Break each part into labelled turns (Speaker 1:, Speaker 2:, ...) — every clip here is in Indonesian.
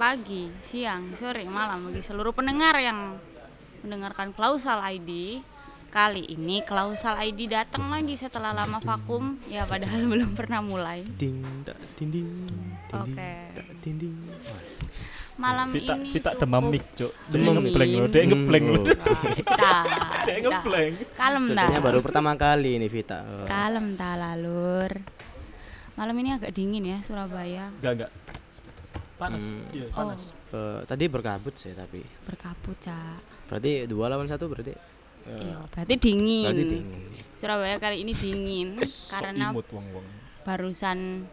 Speaker 1: pagi, siang, sore, malam bagi seluruh pendengar yang mendengarkan Klausal ID. Kali ini Klausal ID datang lagi setelah lama vakum, ya padahal belum pernah mulai.
Speaker 2: ding tak dinding dinding
Speaker 1: Oke.
Speaker 2: tak dinding Mas.
Speaker 1: Malam
Speaker 3: Vita,
Speaker 1: ini
Speaker 3: Vita
Speaker 1: cukup-
Speaker 3: demam mic, Cuk.
Speaker 2: Nah.
Speaker 3: Dia
Speaker 1: Demam
Speaker 3: ngebleng
Speaker 1: mic.
Speaker 3: loh, dia ngebleng loh.
Speaker 1: Nah, sudah,
Speaker 3: Dia
Speaker 1: sudah.
Speaker 3: ngebleng.
Speaker 1: Kalem dah.
Speaker 2: Tentunya baru pertama kali ini Vita. Oh.
Speaker 3: Nah.
Speaker 1: Kalem dah lalur. Malam ini agak dingin ya Surabaya,
Speaker 3: Enggak, enggak. Panas.
Speaker 2: Hmm.
Speaker 3: Iya,
Speaker 1: Oh.
Speaker 3: panas.
Speaker 2: Eh, tadi berkabut sih tapi.
Speaker 1: berkabut, Cak.
Speaker 2: Berarti dua lawan satu berarti.
Speaker 3: Eh.
Speaker 1: Iya, berarti dingin.
Speaker 2: Berarti dingin.
Speaker 1: Surabaya kali ini dingin
Speaker 3: Sok
Speaker 1: karena
Speaker 3: imut wong-wong.
Speaker 1: barusan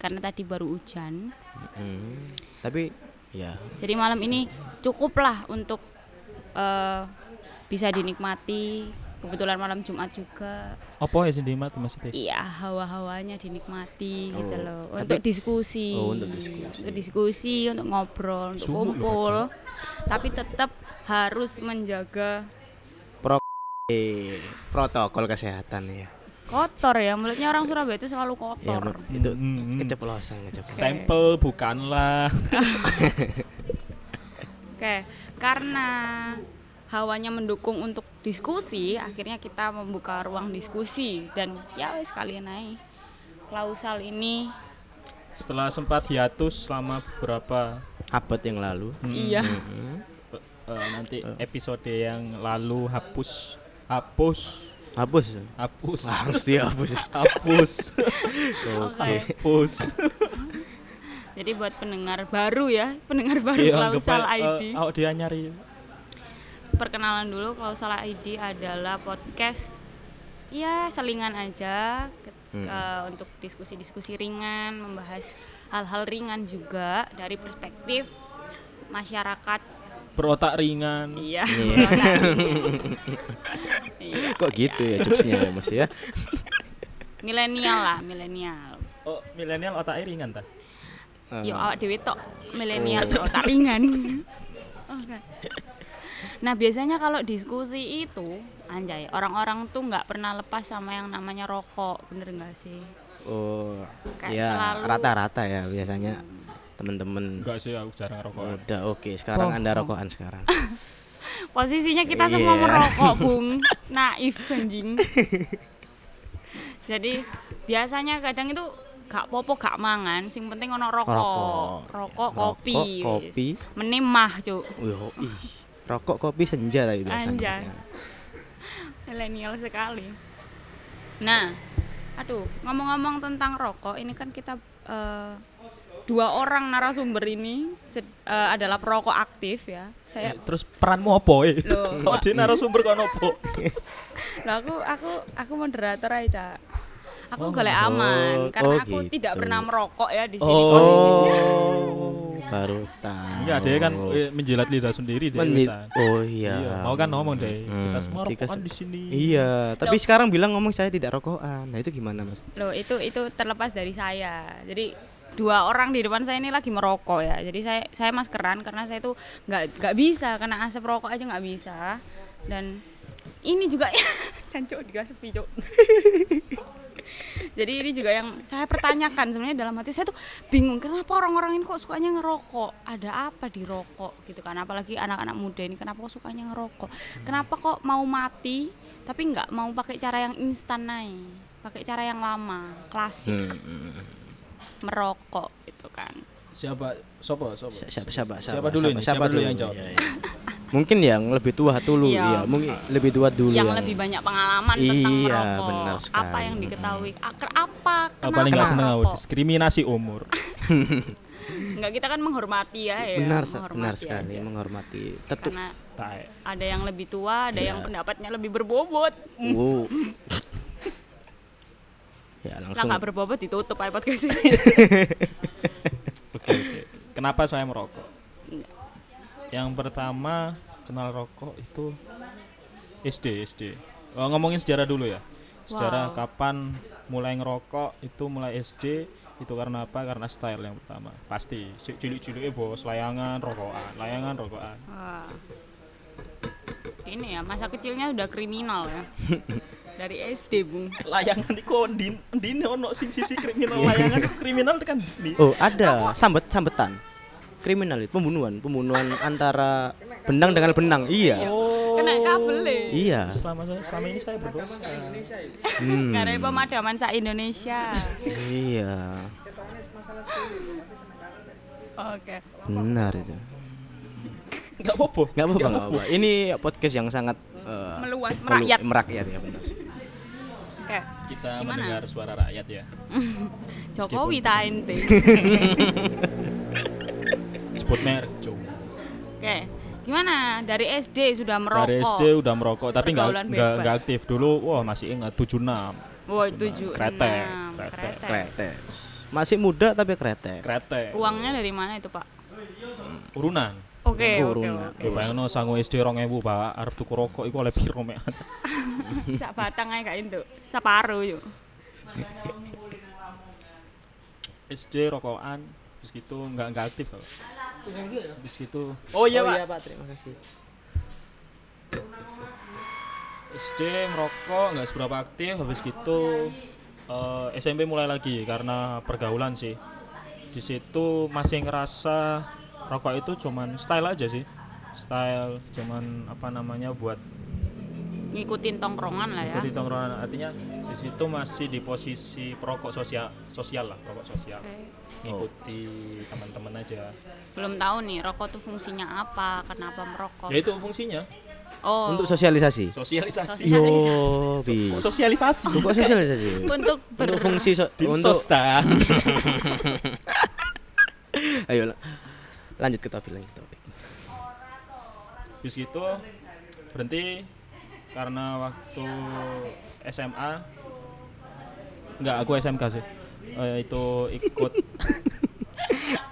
Speaker 1: karena tadi baru hujan.
Speaker 2: Hmm. Tapi ya
Speaker 1: Jadi malam ini cukuplah untuk eh, bisa dinikmati. Kebetulan malam Jumat juga.
Speaker 3: Apa ya sendiri mati maksudnya?
Speaker 1: Iya, hawa-hawanya dinikmati gitu
Speaker 2: Oh,
Speaker 1: loh.
Speaker 2: tapi-
Speaker 1: Untuk diskusi.
Speaker 2: Oh, untuk diskusi.
Speaker 1: Untuk diskusi, untuk ngobrol, untuk
Speaker 3: Sumuk loh,
Speaker 1: kumpul. Tapi tetap harus menjaga
Speaker 2: eh, protokol kesehatan ya.
Speaker 1: kotor ya. Mulutnya orang Surabaya itu selalu
Speaker 2: Iya,
Speaker 1: kotor.
Speaker 2: menurut- itu
Speaker 3: Hmm.
Speaker 2: keceplosan
Speaker 1: Iya.
Speaker 2: keceplosan.
Speaker 3: Sampel bukanlah.
Speaker 1: Oke, karena hawanya mendukung untuk diskusi, akhirnya kita membuka ruang diskusi dan ya wes kalian naik. Klausal ini
Speaker 3: Setelah sempat hiatus selama beberapa
Speaker 2: Abad yang lalu.
Speaker 3: hmm,
Speaker 1: iya
Speaker 2: Hmm.
Speaker 3: eh, nanti episode yang lalu hapus hapus
Speaker 2: Hapus.
Speaker 3: hapus
Speaker 2: Wah, harus dihapus.
Speaker 3: hapus
Speaker 1: oke.
Speaker 3: hapus
Speaker 1: Jadi buat pendengar baru ya, pendengar baru
Speaker 3: Iya, anggap
Speaker 1: Klausal
Speaker 3: aja,
Speaker 1: ID.
Speaker 3: eh, awak dia nyari
Speaker 1: Perkenalan dulu Klausal ID adalah podcast ya selingan aja ke-
Speaker 3: Hmm.
Speaker 1: ke- untuk diskusi-diskusi ringan, membahas hal-hal ringan juga dari perspektif masyarakat
Speaker 3: berotak ringan
Speaker 1: Iya. Iya.
Speaker 2: Kok gitu ya jokesnya ya, Mas ya?
Speaker 1: Milenial lah, milenial.
Speaker 3: oh milenial otaknya ringan ta
Speaker 2: Eh,
Speaker 1: Yo awak dhewe tok milenial tok tak ringan. Oke. Nah, biasanya kalau diskusi itu anjay, orang-orang tuh nggak pernah lepas sama yang namanya rokok, bener nggak sih?
Speaker 2: Oh,
Speaker 1: Kayak
Speaker 2: ya
Speaker 1: selalu-
Speaker 2: rata-rata ya biasanya temen-temen
Speaker 3: enggak sih aku jarang rokok
Speaker 2: Udah oke, sekarang Anda rokokan sekarang.
Speaker 1: Posisinya kita semua
Speaker 2: Iya.
Speaker 1: merokok, Bung. Naif anjing. Jadi biasanya kadang itu gak popo gak mangan, sing penting ono rokok.
Speaker 2: Rokok.
Speaker 1: Rokok,
Speaker 2: Rokok,
Speaker 1: kopi. wis.
Speaker 2: kopi.
Speaker 1: Menemah, Cuk.
Speaker 2: Wih, oh, ih. Rokok kopi senja tapi biasanya.
Speaker 1: Anjay.
Speaker 2: sekarang.
Speaker 1: Milenial sekali. Nah, aduh, ngomong-ngomong tentang rokok, ini kan kita eh, dua orang narasumber ini sed- eh, adalah perokok aktif ya. Saya
Speaker 3: terus peranmu apa eh
Speaker 1: Loh,
Speaker 3: kok dia narasumber kok nopo
Speaker 1: Lah aku aku aku moderator aja. Cak. Aku
Speaker 3: Oh,
Speaker 1: golek
Speaker 3: oh,
Speaker 1: aman karena
Speaker 2: oh
Speaker 1: aku tidak
Speaker 2: gitu.
Speaker 1: pernah merokok ya di sini.
Speaker 2: Oh, baru tahu.
Speaker 3: enggak dia kan eh, menjilat lidah sendiri dia
Speaker 2: Menit-
Speaker 3: bisa.
Speaker 2: Oh iya.
Speaker 3: Iya, mau kan ngomong deh. Kita
Speaker 2: Hmm,
Speaker 3: semua
Speaker 2: jika
Speaker 3: rokokan
Speaker 2: se-
Speaker 3: di sini.
Speaker 2: Iya, tapi sekarang bilang ngomong saya tidak rokokan. Nah, itu gimana, Mas?
Speaker 1: Loh, itu itu terlepas dari saya. Jadi dua orang di depan saya ini lagi merokok ya. Jadi saya saya maskeran karena saya tuh nggak nggak bisa kena asap rokok aja nggak bisa. Dan ini juga cancuk juga sepi, Cuk. Jadi ini juga yang saya pertanyakan sebenarnya dalam hati saya tuh bingung kenapa orang-orang ini kok sukanya ngerokok? Ada apa di rokok gitu kan? Apalagi anak-anak muda ini kenapa kok sukanya ngerokok?
Speaker 2: Hmm.
Speaker 1: Kenapa kok mau mati tapi nggak mau pakai cara yang instan naik? Pakai cara yang lama, klasik,
Speaker 2: Hmm.
Speaker 1: merokok gitu kan.
Speaker 3: Siapa? Sopo? Sopo?
Speaker 2: Siapa siapa siapa,
Speaker 3: Siapa dulu ini? Siapa dulu yang jawab?
Speaker 2: Iya, iya. Mungkin yang lebih tua dulu,
Speaker 1: Iya.
Speaker 2: iya. Mungkin lebih tua dulu.
Speaker 1: yang lebih banyak pengalaman tentang
Speaker 2: Iya,
Speaker 1: merokok.
Speaker 2: benar
Speaker 1: apa
Speaker 2: sekali. Hmm.
Speaker 1: yang diketahui? Ak- Apa?
Speaker 3: Aku
Speaker 1: Kenapa?
Speaker 3: paling nggak seneng aku
Speaker 1: merokok?
Speaker 3: diskriminasi umur.
Speaker 1: Enggak kita kan menghormati ya ya.
Speaker 2: benar, sa- benar
Speaker 1: menghormati
Speaker 2: sekali
Speaker 1: aja.
Speaker 2: menghormati. Tetu.
Speaker 1: Karena
Speaker 3: Tae.
Speaker 1: ada yang lebih tua, ada
Speaker 3: Iya.
Speaker 1: yang pendapatnya lebih berbobot.
Speaker 2: Wow. ya,
Speaker 1: Lah
Speaker 2: langsung.
Speaker 1: nggak berbobot ditutup aja podcast ini.
Speaker 3: Oke, oke. Kenapa saya merokok? Yang pertama kenal rokok itu SD, SD. Oh, ngomongin sejarah dulu ya. Sejarah
Speaker 1: Wow.
Speaker 3: kapan mulai ngerokok itu mulai SD itu karena apa? Karena style yang pertama. Pasti si cilik-cilik bos layangan rokokan, layangan rokokan.
Speaker 1: Wah. Ini ya masa kecilnya udah kriminal ya. Dari SD bung.
Speaker 3: layangan iku ndin ndine ono sing sisi kriminal layangan iku kriminal tekan kan? ndi
Speaker 2: Oh, ada sambet sambetan. kriminal itu pembunuhan, pembunuhan antara benang dengan benang. Iya.
Speaker 3: Oh.
Speaker 1: kena kabel eh.
Speaker 2: Iya.
Speaker 3: Selama saya- selama ini saya berdosa.
Speaker 2: Hmm.
Speaker 1: Karena pemadaman sa Indonesia.
Speaker 2: Iya.
Speaker 1: Oke.
Speaker 2: Benar itu.
Speaker 3: Enggak apa-apa.
Speaker 2: Enggak apa-apa, nggak apa-apa. Ini podcast yang sangat eh,
Speaker 1: Meluas,
Speaker 2: melu-
Speaker 1: merakyat.
Speaker 2: merakyat ya benar.
Speaker 1: Oke.
Speaker 3: Kita
Speaker 1: Gimana?
Speaker 3: mendengar suara rakyat ya.
Speaker 1: Jokowi ta ente.
Speaker 3: Sebut merek, Jo.
Speaker 1: Oke. Gimana? Dari SD sudah merokok.
Speaker 3: Dari SD udah merokok tapi
Speaker 1: Pergaulan
Speaker 3: enggak enggak
Speaker 1: bebas.
Speaker 3: enggak aktif dulu. Wah, masih ingat 76.
Speaker 1: Wah, tujuh.
Speaker 3: Kretek,
Speaker 1: enam.
Speaker 3: kretek.
Speaker 2: Kretek. Masih muda tapi kretek.
Speaker 3: Kretek,
Speaker 1: Uangnya dari mana itu, Pak?
Speaker 3: urunan.
Speaker 1: Oke, oke,
Speaker 2: Kurung.
Speaker 1: oke.
Speaker 3: Ya bayangno sangu SD 2000, Pak, arep tuku rokok iku oleh piro mekan.
Speaker 1: Sak batang ae gak entuk. Separuh yo.
Speaker 3: SD rokokan terus gitu nggak nggak aktif Pak. terus gitu oh iya pak
Speaker 2: terima kasih.
Speaker 3: SD merokok nggak seberapa aktif habis gitu eh, SMP mulai lagi karena pergaulan sih di situ masih ngerasa rokok itu cuman style aja sih style cuman apa namanya buat
Speaker 1: Ngikutin tongkrongan lah ya.
Speaker 3: ikuti tongkrongan artinya di situ masih di posisi perokok sosial sosial lah perokok sosial
Speaker 1: Oke.
Speaker 3: ngikuti teman-teman aja
Speaker 1: Belum tahu nih rokok tuh fungsinya apa, kenapa merokok.
Speaker 3: ya itu fungsinya
Speaker 1: Oh.
Speaker 2: Untuk sosialisasi.
Speaker 3: sosialisasi
Speaker 1: Iya.
Speaker 2: Yo,
Speaker 1: Sosialisasi.
Speaker 2: bi.
Speaker 3: sosialisasi
Speaker 2: Kok sosialisasi?
Speaker 1: untuk ber-
Speaker 2: Untuk fungsi so- untuk
Speaker 3: Dinsos ta.
Speaker 2: Ayo la- lanjut ke topik lagi topik.
Speaker 3: Terus gitu berhenti karena waktu SMA enggak aku SMK sih. Eh, itu ikut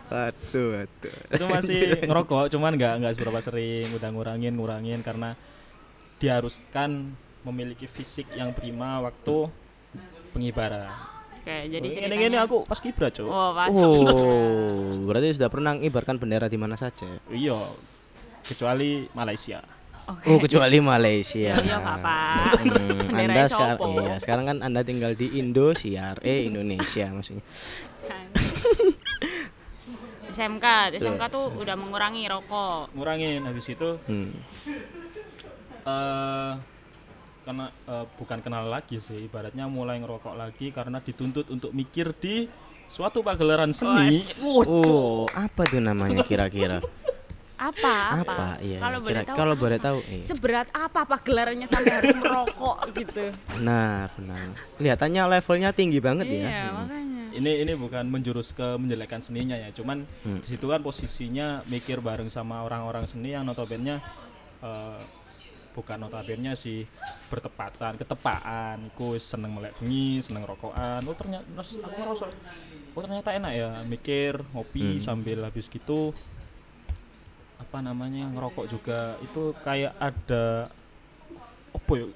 Speaker 2: Waduh, waduh.
Speaker 3: itu masih ngerokok cuman nggak nggak seberapa sering udah ngurangin ngurangin karena diharuskan memiliki fisik yang prima waktu pengibaran.
Speaker 1: Oke, jadi
Speaker 3: Ini
Speaker 1: ceritanya.
Speaker 3: ini aku pas kibra cok.
Speaker 1: Oh, pas.
Speaker 2: Oh, berarti sudah pernah ngibarkan bendera di mana saja.
Speaker 3: Iya kecuali Malaysia.
Speaker 1: Oke.
Speaker 2: Oh, kecuali Malaysia.
Speaker 1: Iya, nggak apa.
Speaker 2: Hmm,
Speaker 1: Daerah
Speaker 2: anda sekarang,
Speaker 1: Sopo.
Speaker 2: iya, sekarang kan Anda tinggal di Indosiar, eh Indonesia maksudnya.
Speaker 1: SMK, SMK tuh udah mengurangi rokok.
Speaker 3: Ngurangin habis itu
Speaker 2: Hmm.
Speaker 3: eh kena eh, bukan kenal lagi sih ibaratnya mulai ngerokok lagi karena dituntut untuk mikir di suatu pagelaran seni
Speaker 2: Oh, apa tuh namanya kira-kira?
Speaker 1: Apa? Apa?
Speaker 2: Apa? Iya.
Speaker 1: Kalau boleh
Speaker 2: kira-
Speaker 1: tahu.
Speaker 2: Kalau boleh
Speaker 1: apa?
Speaker 2: tahu, iya.
Speaker 1: Seberat apa pak gelarannya sampai harus merokok gitu?
Speaker 2: Benar, benar. Kelihatannya levelnya tinggi banget
Speaker 1: Iya,
Speaker 2: ya.
Speaker 1: makanya.
Speaker 3: ini ini bukan menjurus ke menjelekan seninya ya cuman di situ kan posisinya mikir bareng sama orang-orang seni yang notabene eh bukan notabene sih bertepatan ketepaan ku seneng melek bengi seneng rokokan oh ternyata aku ngerasa oh ternyata enak ya mikir ngopi sambil habis gitu apa namanya ngerokok juga itu kayak ada apa ya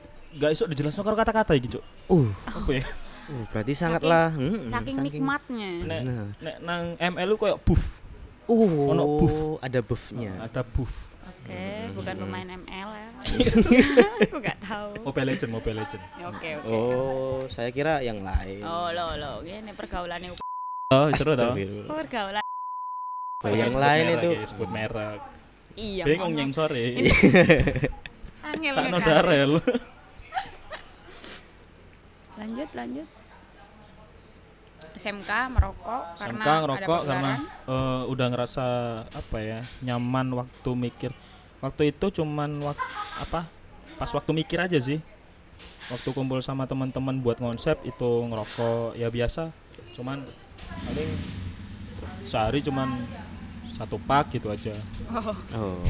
Speaker 3: nggak iso dijelasin karo kata-kata gitu Cuk.
Speaker 2: Uh,
Speaker 3: apa ya
Speaker 2: uh, berarti sangatlah hmm, Nah,
Speaker 1: Saking nikmatnya.
Speaker 3: nek,
Speaker 2: Bener.
Speaker 3: nek nang ML lu kayak buff
Speaker 2: Uh,
Speaker 3: Ono buff.
Speaker 2: ada buffnya.
Speaker 3: Eh, ada buff
Speaker 1: Oke, bukan
Speaker 2: hmm.
Speaker 1: pemain ML ya. Aku nggak tahu.
Speaker 3: Mobile Legend Mobile Legend
Speaker 1: Ya, Oke, oke.
Speaker 2: Oh, saya kira yang lain.
Speaker 1: Oh, lo lo, ini pergaulannya
Speaker 3: oh seru tau
Speaker 2: Astagfirullah.
Speaker 1: pergaulan.
Speaker 2: Oh, yang
Speaker 3: Sebut
Speaker 2: lain
Speaker 3: merek
Speaker 2: itu.
Speaker 3: ya, sebut merek
Speaker 1: Iya.
Speaker 3: bingung
Speaker 1: Mama.
Speaker 3: yang sore
Speaker 1: Angel
Speaker 3: sakno ya.
Speaker 1: ngekan.
Speaker 3: darel
Speaker 1: Lanjut, lanjut. SMK merokok karena
Speaker 3: SMK ngerokok
Speaker 1: ada
Speaker 3: karena
Speaker 1: pergelaran.
Speaker 3: eh, udah ngerasa apa ya nyaman waktu mikir waktu itu cuman wak- apa pas waktu mikir aja sih waktu kumpul sama teman-teman buat konsep itu ngerokok ya biasa cuman paling sehari cuman satu pak gitu aja
Speaker 2: Oh,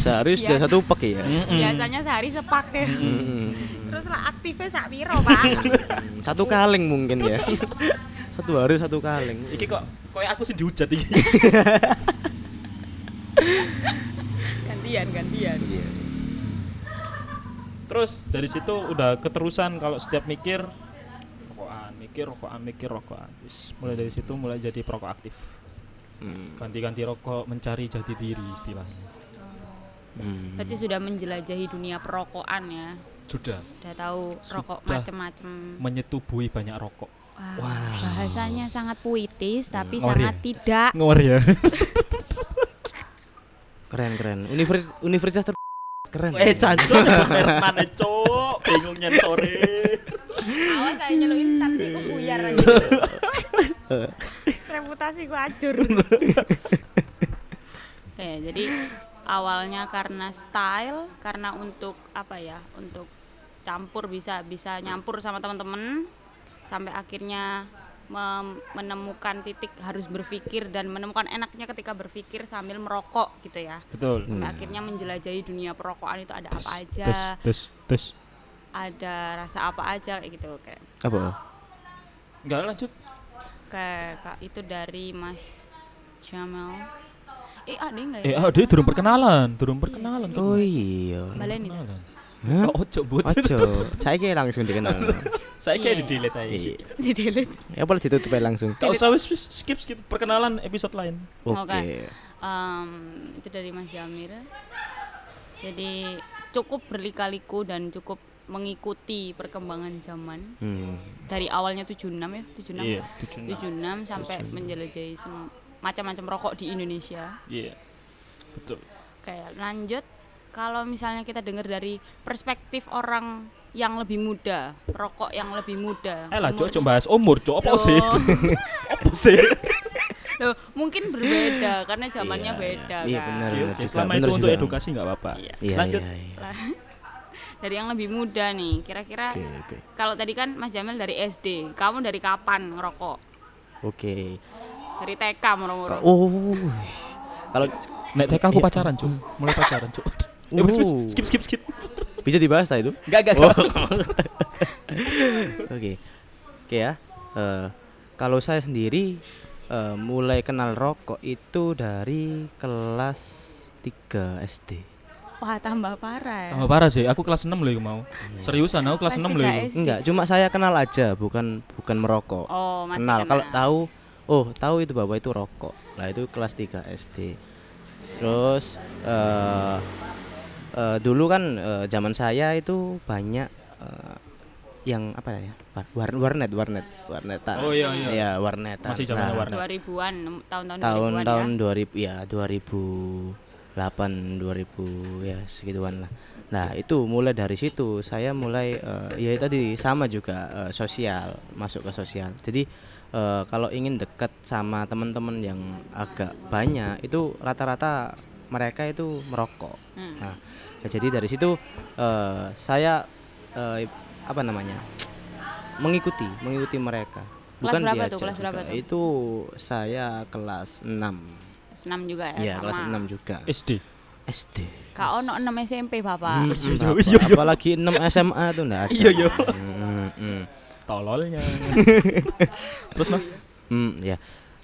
Speaker 2: sehari
Speaker 1: Iya.
Speaker 2: sudah satu pack ya.
Speaker 1: biasanya sehari sepak ya.
Speaker 2: Hmm.
Speaker 1: Terus lah aktifnya sak piro, Pak?
Speaker 2: Satu kaleng mungkin ya. satu hari satu kaleng.
Speaker 3: Iki kok kayak aku sih dihujat iki.
Speaker 1: gantian, gantian.
Speaker 2: Iya.
Speaker 3: Terus dari situ udah keterusan kalau setiap mikir rokokan, mikir rokokan, mikir rokokan. Wis, mulai dari situ mulai jadi perokok aktif.
Speaker 2: Hmm.
Speaker 3: Ganti-ganti rokok, mencari jati diri istilahnya.
Speaker 2: Hmm.
Speaker 1: Berarti sudah menjelajahi dunia perokokan ya.
Speaker 3: Sudah
Speaker 1: Udah tahu rokok
Speaker 3: Sudah.
Speaker 1: macem-macem.
Speaker 3: menyetubuhi banyak rokok.
Speaker 1: Wah,
Speaker 3: Oh, iya.
Speaker 1: Bahasanya sangat puitis tapi
Speaker 3: Ngori
Speaker 1: sangat
Speaker 3: ya?
Speaker 1: tidak
Speaker 3: Ngor ya.
Speaker 2: keren keren universitas universitas ter keren
Speaker 3: Eh cancu nyebut merek mana cok Bingungnya sore
Speaker 1: Awas saya nyeluin tapi aku
Speaker 3: Iya.
Speaker 1: buyar lagi. Reputasi ku acur. Oke, jadi awalnya karena style, karena untuk apa ya? Untuk campur bisa bisa nyampur sama teman-teman sampai akhirnya mem- menemukan titik harus berpikir dan menemukan enaknya ketika berpikir sambil merokok gitu ya.
Speaker 3: Betul
Speaker 1: Sampai akhirnya menjelajahi dunia perokokan itu ada apa aja,
Speaker 3: Hmm. Tes tes tes
Speaker 1: ada rasa apa aja kayak gitu kayak.
Speaker 2: apa
Speaker 3: Enggak lanjut
Speaker 1: Kayak Kak, itu dari Mas Jamel. Eh, ada enggak ya?
Speaker 3: Eh ah, dia turun perkenalan Turun perkenalan Cok.
Speaker 2: oh iya
Speaker 1: Balen itu.
Speaker 3: Perkenalan.
Speaker 2: Hah?
Speaker 3: Oh cok buat
Speaker 2: ojo saya kira langsung dikenal
Speaker 3: Saya kayak di
Speaker 1: Iya.
Speaker 3: delete aja
Speaker 2: iya
Speaker 1: Didelete.
Speaker 2: ya boleh ditutup aja langsung
Speaker 3: Gak usah wis wis, skip skip perkenalan episode lain
Speaker 1: Oke.
Speaker 2: oke
Speaker 1: Em, itu dari Mas Jamir. Jadi cukup berlika-liku dan cukup mengikuti perkembangan zaman
Speaker 2: Hmm.
Speaker 1: dari awalnya 76 ya, 76.
Speaker 3: Iya
Speaker 1: 76
Speaker 3: 76
Speaker 1: sampai menjelajahi sem- macam-macam rokok di Indonesia.
Speaker 3: Iya Betul
Speaker 1: Kayak lanjut kalau misalnya kita dengar dari perspektif orang yang lebih muda, rokok yang lebih muda.
Speaker 3: Eh lah cok
Speaker 1: umurnya-
Speaker 3: cok bahas umur cok Apa
Speaker 1: Loh.
Speaker 3: sih Apa sih
Speaker 1: Loh, mungkin berbeda karena zamannya
Speaker 2: Iya,
Speaker 1: beda
Speaker 2: iya. Iya,
Speaker 1: kan.
Speaker 2: benar.
Speaker 3: Oke, oke,
Speaker 2: juga,
Speaker 3: Selama
Speaker 2: bener
Speaker 3: itu untuk
Speaker 2: juga.
Speaker 3: edukasi nggak apa-apa
Speaker 1: Iya.
Speaker 2: ya. iya
Speaker 3: Lanjut
Speaker 2: iya, iya.
Speaker 1: Dari yang lebih muda nih, kira-kira
Speaker 2: oke oke
Speaker 1: kalau tadi kan Mas Jamil dari SD, kamu dari kapan ngerokok?
Speaker 2: oke
Speaker 1: Dari TK moro-moro.
Speaker 2: oh kalau
Speaker 3: Nek TK
Speaker 2: Iya.
Speaker 3: aku pacaran cok Mulai pacaran cok Eh wis wis, skip skip skip
Speaker 2: bisa dibahas tak itu
Speaker 3: Gak gak
Speaker 2: Oh.
Speaker 3: gak
Speaker 2: Oke, oke ya. Eh, kalau saya sendiri eh, mulai kenal rokok itu dari kelas 3 SD.
Speaker 1: Wah, tambah parah.
Speaker 3: Tambah parah sih, aku kelas 6 loh iku mau.
Speaker 2: Iya.
Speaker 3: Seriusan aku kelas
Speaker 1: Kelas
Speaker 3: 6
Speaker 1: tiga
Speaker 3: loh iku.
Speaker 1: SD.
Speaker 2: Enggak, cuma saya kenal aja, bukan bukan merokok.
Speaker 1: Oh, masih
Speaker 2: kenal. Kalau tahu, oh tahu itu bapak itu rokok. Lah itu kelas 3 SD. Terus eh eh, dulu kan eh, zaman saya itu banyak eh, yang apa ya war- war- warnet warnet warnetan
Speaker 3: Oh, iya, iya.
Speaker 2: ya warnetan
Speaker 3: Masih zamannya
Speaker 2: Nah,
Speaker 3: warnet.
Speaker 1: 2000-an, tahun-tahun 2000-an ya.
Speaker 2: tahun-tahun 2000 ya 2008 2000 ya segituan lah nah itu mulai dari situ saya mulai eh, ya tadi sama juga eh, sosial masuk ke sosial jadi eh, kalau ingin dekat sama teman-teman yang agak banyak itu rata-rata mereka itu merokok
Speaker 1: Hmm.
Speaker 2: Nah, ya jadi dari situ eh, saya eh, apa namanya mengikuti mengikuti mereka.
Speaker 1: Kelas berapa tuh?
Speaker 2: diajak
Speaker 1: Kelas berapa
Speaker 2: juga.
Speaker 1: tuh?
Speaker 2: Itu saya kelas 6
Speaker 1: Kelas 6 juga ya.
Speaker 2: Iya
Speaker 1: sama.
Speaker 2: kelas 6 juga.
Speaker 3: SD.
Speaker 2: SD.
Speaker 1: Kak Ono 6 SMP,
Speaker 2: Hmm.
Speaker 1: Bapak.
Speaker 2: Apa- Apalagi 6 SMA tuh enggak ada.
Speaker 3: Iya, iya.
Speaker 2: Mm, mm.
Speaker 3: Tololnya. Terus
Speaker 1: Iya.
Speaker 3: mah
Speaker 2: Hmm, ya.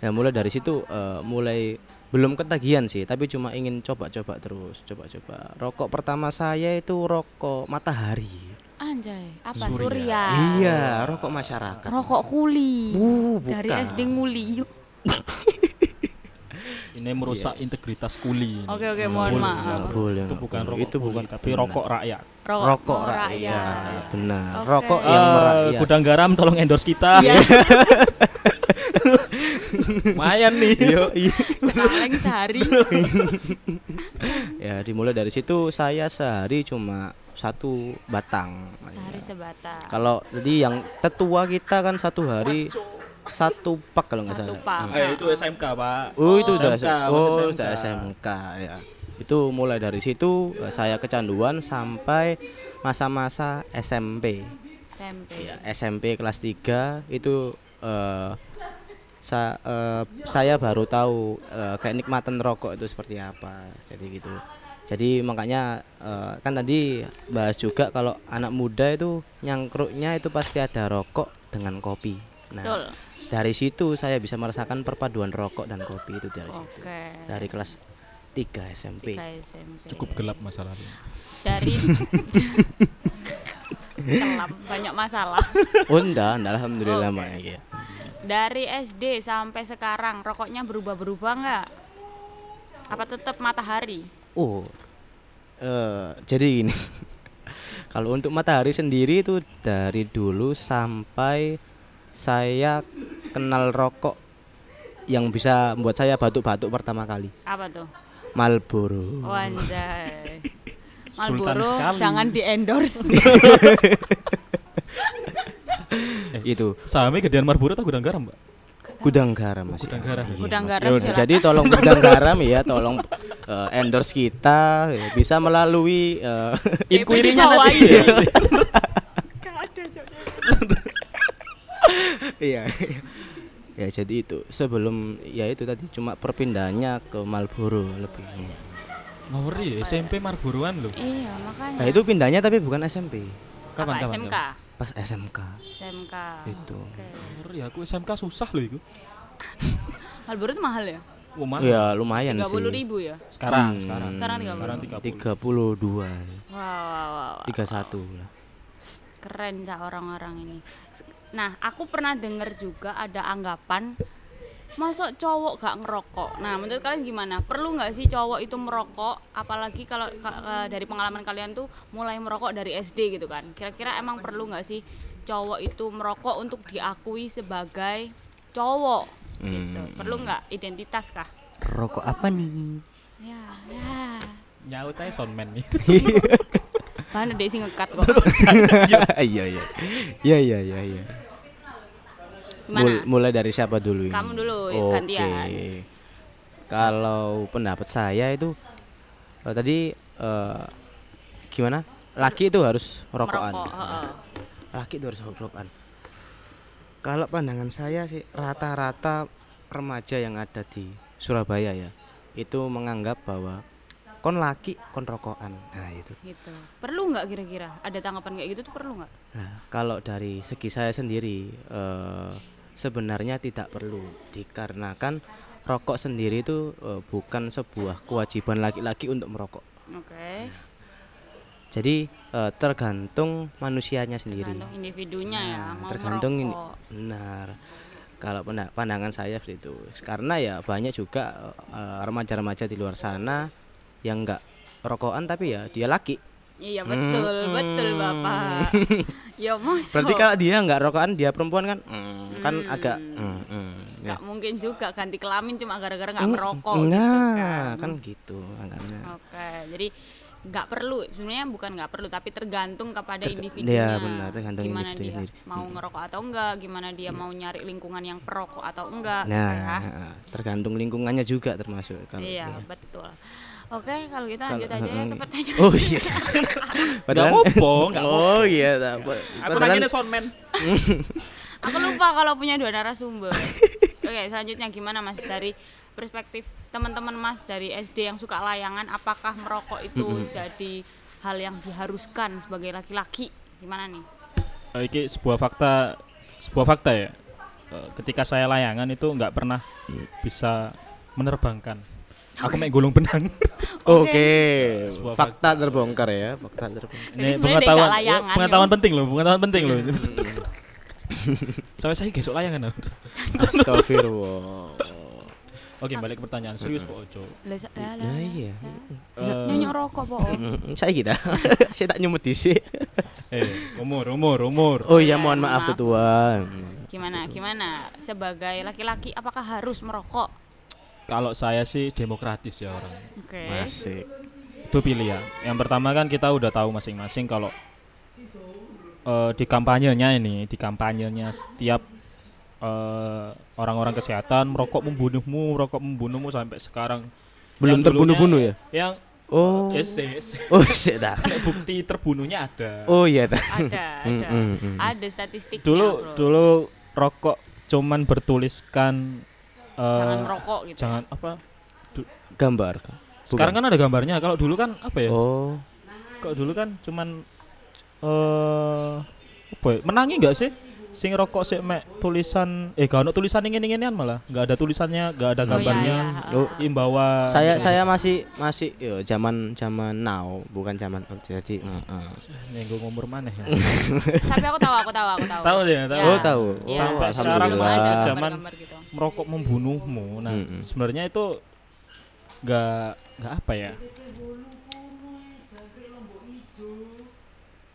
Speaker 2: Ya mulai dari situ eh, mulai belum ketagihan sih, tapi cuma ingin coba-coba terus, coba-coba. Rokok pertama saya itu rokok Matahari.
Speaker 1: Anjay, apa
Speaker 3: Surya.
Speaker 1: Surya?
Speaker 2: Iya, rokok masyarakat.
Speaker 1: Rokok kuli.
Speaker 2: Uh,
Speaker 1: Dari
Speaker 2: bukan.
Speaker 1: SD nguli. Yuk.
Speaker 3: ini merusak integritas kuli. ini.
Speaker 1: Oke, oke, mohon
Speaker 3: Boleh,
Speaker 1: maaf.
Speaker 3: nggak
Speaker 2: Boleh,
Speaker 3: Itu
Speaker 2: nggak
Speaker 3: bukan
Speaker 2: boleh.
Speaker 3: rokok.
Speaker 2: Itu
Speaker 3: kuli,
Speaker 2: bukan
Speaker 3: tapi
Speaker 2: benar.
Speaker 3: rokok rakyat.
Speaker 2: Rokok iya.
Speaker 1: mau
Speaker 2: rakyat. Benar.
Speaker 1: ya. Oke.
Speaker 2: Rokok
Speaker 1: Oh,
Speaker 2: yang iya.
Speaker 3: Eh,
Speaker 2: merakyat.
Speaker 3: Gudang garam tolong endorse kita.
Speaker 1: Iya,
Speaker 3: Lumayan nih.
Speaker 2: iya.
Speaker 1: sekaleng sehari.
Speaker 2: Ya, dimulai dari situ saya sehari cuma satu batang.
Speaker 1: Sehari
Speaker 3: Iya.
Speaker 2: Ya.
Speaker 1: sebatas.
Speaker 2: Kalau jadi yang tetua kita kan satu hari satu pak kalau nggak
Speaker 1: Satu
Speaker 2: salah.
Speaker 1: pak.
Speaker 3: Eh, itu SMK, Pak.
Speaker 2: Oh, itu udah
Speaker 3: SMK,
Speaker 2: oh,
Speaker 3: masih
Speaker 2: udah SMK ya. Itu mulai dari situ eh, saya kecanduan sampai masa-masa SMP.
Speaker 1: SMP.
Speaker 2: Ya,
Speaker 3: Iya,
Speaker 2: SMP kelas 3 itu eh, sa- eh, saya baru tahu eh, kenikmatan rokok itu seperti apa. Jadi gitu. Jadi makanya eh, kan tadi bahas juga kalau anak muda itu nyangkruknya itu pasti ada rokok dengan kopi. Nah,
Speaker 1: Betul.
Speaker 2: dari situ saya bisa merasakan perpaduan rokok dan kopi itu dari situ.
Speaker 1: Oke.
Speaker 2: Dari kelas 3 SMP.
Speaker 1: Kita SMP.
Speaker 3: Cukup gelap masa lalu.
Speaker 1: Dari kelam banyak masalah.
Speaker 2: Oh, enggak, enggak, alhamdulillah Mak, ya.
Speaker 1: Dari SD sampai sekarang rokoknya berubah-berubah nggak? Apa tetap matahari?
Speaker 2: Oh, eh, jadi gini. Kalau untuk matahari sendiri itu dari dulu sampai saya kenal rokok yang bisa membuat saya batuk-batuk pertama kali.
Speaker 1: Apa tuh?
Speaker 2: Marlboro.
Speaker 1: Wanjai.
Speaker 3: Uh. Sultan
Speaker 1: Marlboro
Speaker 3: sekali.
Speaker 1: jangan di endorse.
Speaker 2: Itu
Speaker 3: Sahamnya gedean Marlboro atau gudang garam, Mbak?
Speaker 2: gudang garam Mas.
Speaker 3: Gudang
Speaker 2: ya.
Speaker 3: garam.
Speaker 2: Iya,
Speaker 1: Gudang
Speaker 2: Mas.
Speaker 1: garam,
Speaker 2: Yaudah,
Speaker 1: silakan.
Speaker 2: Jadi tolong gudang garam ya, tolong eh, endorse kita ya, bisa melalui eh,
Speaker 1: di
Speaker 3: Inquiry-nya
Speaker 1: bawah
Speaker 3: nanti.
Speaker 1: ini.
Speaker 2: iya. ya jadi itu sebelum ya itu tadi cuma perpindahannya ke Marlboro lebih.
Speaker 3: Ngeri ya, SMP Marlboroan loh.
Speaker 1: iya, makanya.
Speaker 2: Nah, itu pindahnya tapi bukan SMP.
Speaker 3: Kapan
Speaker 1: Apa,
Speaker 3: kapan?
Speaker 1: SMK?
Speaker 3: kapan?
Speaker 2: Pas SMK.
Speaker 1: SMK.
Speaker 2: Itu.
Speaker 1: Oke.
Speaker 3: Ngeri aku SMK susah loh itu.
Speaker 1: Marlboro itu mahal ya?
Speaker 3: Oh, mahal.
Speaker 2: Ya lumayan
Speaker 1: Tiga
Speaker 2: sih.
Speaker 1: puluh ribu ya?
Speaker 3: Sekarang,
Speaker 2: Hmm,
Speaker 3: sekarang.
Speaker 1: Sekarang 30.
Speaker 3: Sekarang 30.
Speaker 2: 32
Speaker 1: Wow, wow, wow, wow.
Speaker 2: 31 lah.
Speaker 1: keren cak orang-orang ini. Nah, aku pernah dengar juga ada anggapan masuk cowok gak ngerokok. Nah, menurut kalian gimana? Perlu nggak sih cowok itu merokok? Apalagi kalau ka- ka- dari pengalaman kalian tuh mulai merokok dari SD gitu kan? Kira-kira emang perlu nggak sih cowok itu merokok untuk diakui sebagai cowok? Gitu. Perlu nggak identitas kah?
Speaker 4: Rokok apa nih?
Speaker 1: Ya, ya.
Speaker 3: Nyaut aja soundman nih.
Speaker 1: Bahan deh sih ngekat kok.
Speaker 2: Iya iya. Iya iya iya iya.
Speaker 1: Gimana?
Speaker 2: Mul- mulai dari siapa dulu ini?
Speaker 1: Kamu dulu, ya,
Speaker 2: Oke.
Speaker 1: gantian.
Speaker 2: Kalau pendapat saya itu eh, tadi eh, gimana? Laki itu harus rokokan.
Speaker 1: Merokok, heeh.
Speaker 2: Laki itu harus rokokan. Kalau pandangan saya sih rata-rata remaja yang ada di Surabaya ya itu menganggap bahwa kon laki kon rokokan. Nah, itu.
Speaker 1: gitu perlu nggak kira-kira ada tanggapan kayak gitu tuh perlu nggak
Speaker 2: Nah, kalau dari segi saya sendiri eh, sebenarnya tidak perlu dikarenakan rokok sendiri itu eh, bukan sebuah kewajiban laki-laki untuk merokok.
Speaker 1: oke
Speaker 2: Jadi eh, tergantung manusianya sendiri.
Speaker 1: tergantung individunya ya
Speaker 2: Nah,
Speaker 1: mau
Speaker 2: iya. tergantung ini
Speaker 1: merokok.
Speaker 2: benar. Kalau penda- pandangan saya seperti itu. Karena ya banyak juga eh, remaja-remaja di luar sana yang enggak rokokan tapi ya dia laki.
Speaker 1: iya
Speaker 2: Hmm.
Speaker 1: betul betul bapak ya masa
Speaker 2: Berarti kan- kalau dia nggak rokokan dia perempuan kan, mm,
Speaker 1: Hmm.
Speaker 2: kan agak mm, mm, ya.
Speaker 1: nggak mungkin juga ganti kelamin cuma gara-gara nggak merokok gitu kan.
Speaker 2: Nah, kan gitu makanya.
Speaker 1: oke jadi nggak perlu sebenarnya bukan nggak perlu tapi tergantung kepada
Speaker 2: iya,
Speaker 1: individunya
Speaker 2: benar, tergantung
Speaker 1: gimana
Speaker 2: individu
Speaker 1: dia
Speaker 2: sendiri. Hmm. Iya.
Speaker 1: mau ngerokok atau enggak gimana dia mau nyari lingkungan yang perokok atau enggak gitu
Speaker 2: Nah,
Speaker 1: ya.
Speaker 2: tergantung lingkungannya juga termasuk kalau
Speaker 1: iya
Speaker 2: ini.
Speaker 1: betul oke kalau kita
Speaker 2: Kalau-
Speaker 1: lanjut aja ya ke
Speaker 2: heeh.
Speaker 1: pertanyaan
Speaker 2: Oh iya.
Speaker 3: Enggak apa-apa, enggak apa-apa.
Speaker 2: Oh iya, tak apa.
Speaker 3: Aku
Speaker 2: Padahal- kan-
Speaker 3: nanginnya soundman.
Speaker 1: Aku lupa kalau punya dua narasumber. Oke, selanjutnya gimana Mas dari perspektif teman-teman Mas dari SD yang suka layangan, apakah merokok itu jadi hal yang diharuskan sebagai laki-laki? Gimana nih?
Speaker 3: Eh, Iki sebuah fakta, sebuah fakta ya. Eh, Ketika saya layangan itu nggak pernah bisa menerbangkan. Iya. Aku main gulung benang.
Speaker 2: Oke,
Speaker 3: Sebuah
Speaker 2: fakta terbongkar ya, fakta terbongkar.
Speaker 1: Jadi sebenarnya
Speaker 3: Ini
Speaker 1: dia
Speaker 3: pengetahuan, eh,
Speaker 1: nggak layangan,
Speaker 3: pengetahuan
Speaker 1: ya. Iya.
Speaker 3: penting loh, pengetahuan penting loh. Sampai saya gesok layangan. aku.
Speaker 2: Astagfirullah.
Speaker 3: Oke, balik ke pertanyaan serius Pak Ojo.
Speaker 1: Lah, sa- lah, lah,
Speaker 2: Ya
Speaker 1: lah.
Speaker 2: iya.
Speaker 3: Eh,
Speaker 1: Nyonyok rokok, Po.
Speaker 2: Mm, Saya kita. Saya tak nyemut di
Speaker 3: eh, umur, umur, umur.
Speaker 2: Oh iya, mohon maaf tuh tuan.
Speaker 1: Gimana? Gimana? Sebagai laki-laki apakah harus merokok?
Speaker 3: Kalau saya sih demokratis ya orang.
Speaker 1: Oke.
Speaker 2: Masih.
Speaker 3: itu pilihan yang pertama kan kita udah tahu masing-masing kalau eh, di kampanyenya ini di kampanyenya setiap eh, orang-orang kesehatan merokok membunuhmu merokok membunuhmu sampai sekarang
Speaker 2: Belum
Speaker 3: Yang dulunya-
Speaker 2: terbunuh-bunuh ya?
Speaker 3: yang
Speaker 2: Oh.
Speaker 3: yes, yes.
Speaker 2: Oh, sik dah.
Speaker 3: bukti terbunuhnya ada
Speaker 2: Oh iya dah.
Speaker 1: Ada, ada.
Speaker 2: Mm, mm, mm.
Speaker 1: Ada statistiknya,
Speaker 3: dulu
Speaker 1: Bro.
Speaker 3: dulu rokok cuman bertuliskan eh,
Speaker 1: Jangan merokok gitu.
Speaker 3: jangan apa
Speaker 2: Gambar.
Speaker 3: sekarang kan ada gambarnya kalau dulu kan apa ya
Speaker 2: Oh.
Speaker 3: Kok dulu kan cuman eh apa ya? menangi nggak sih? Sing rokok sih mek tulisan eh gak ono tulisan ingin inginian malah nggak ada tulisannya nggak ada gambarnya
Speaker 2: Oh,
Speaker 3: imbauan
Speaker 2: saya saya masih masih yo zaman zaman now bukan zaman old jadi mm, mm.
Speaker 3: nenggung umur maneh ya.
Speaker 1: Tapi aku tahu, aku tahu, aku tahu. Iya.
Speaker 3: tahu ya tahu
Speaker 2: oh tahu oh,
Speaker 3: Sampai sekarang
Speaker 1: ada
Speaker 3: masih
Speaker 2: alhamdulillah
Speaker 3: zaman
Speaker 1: gambar-gambar gitu.
Speaker 3: merokok membunuhmu nah
Speaker 2: Mm-mm.
Speaker 3: sebenarnya itu nggak nggak apa ya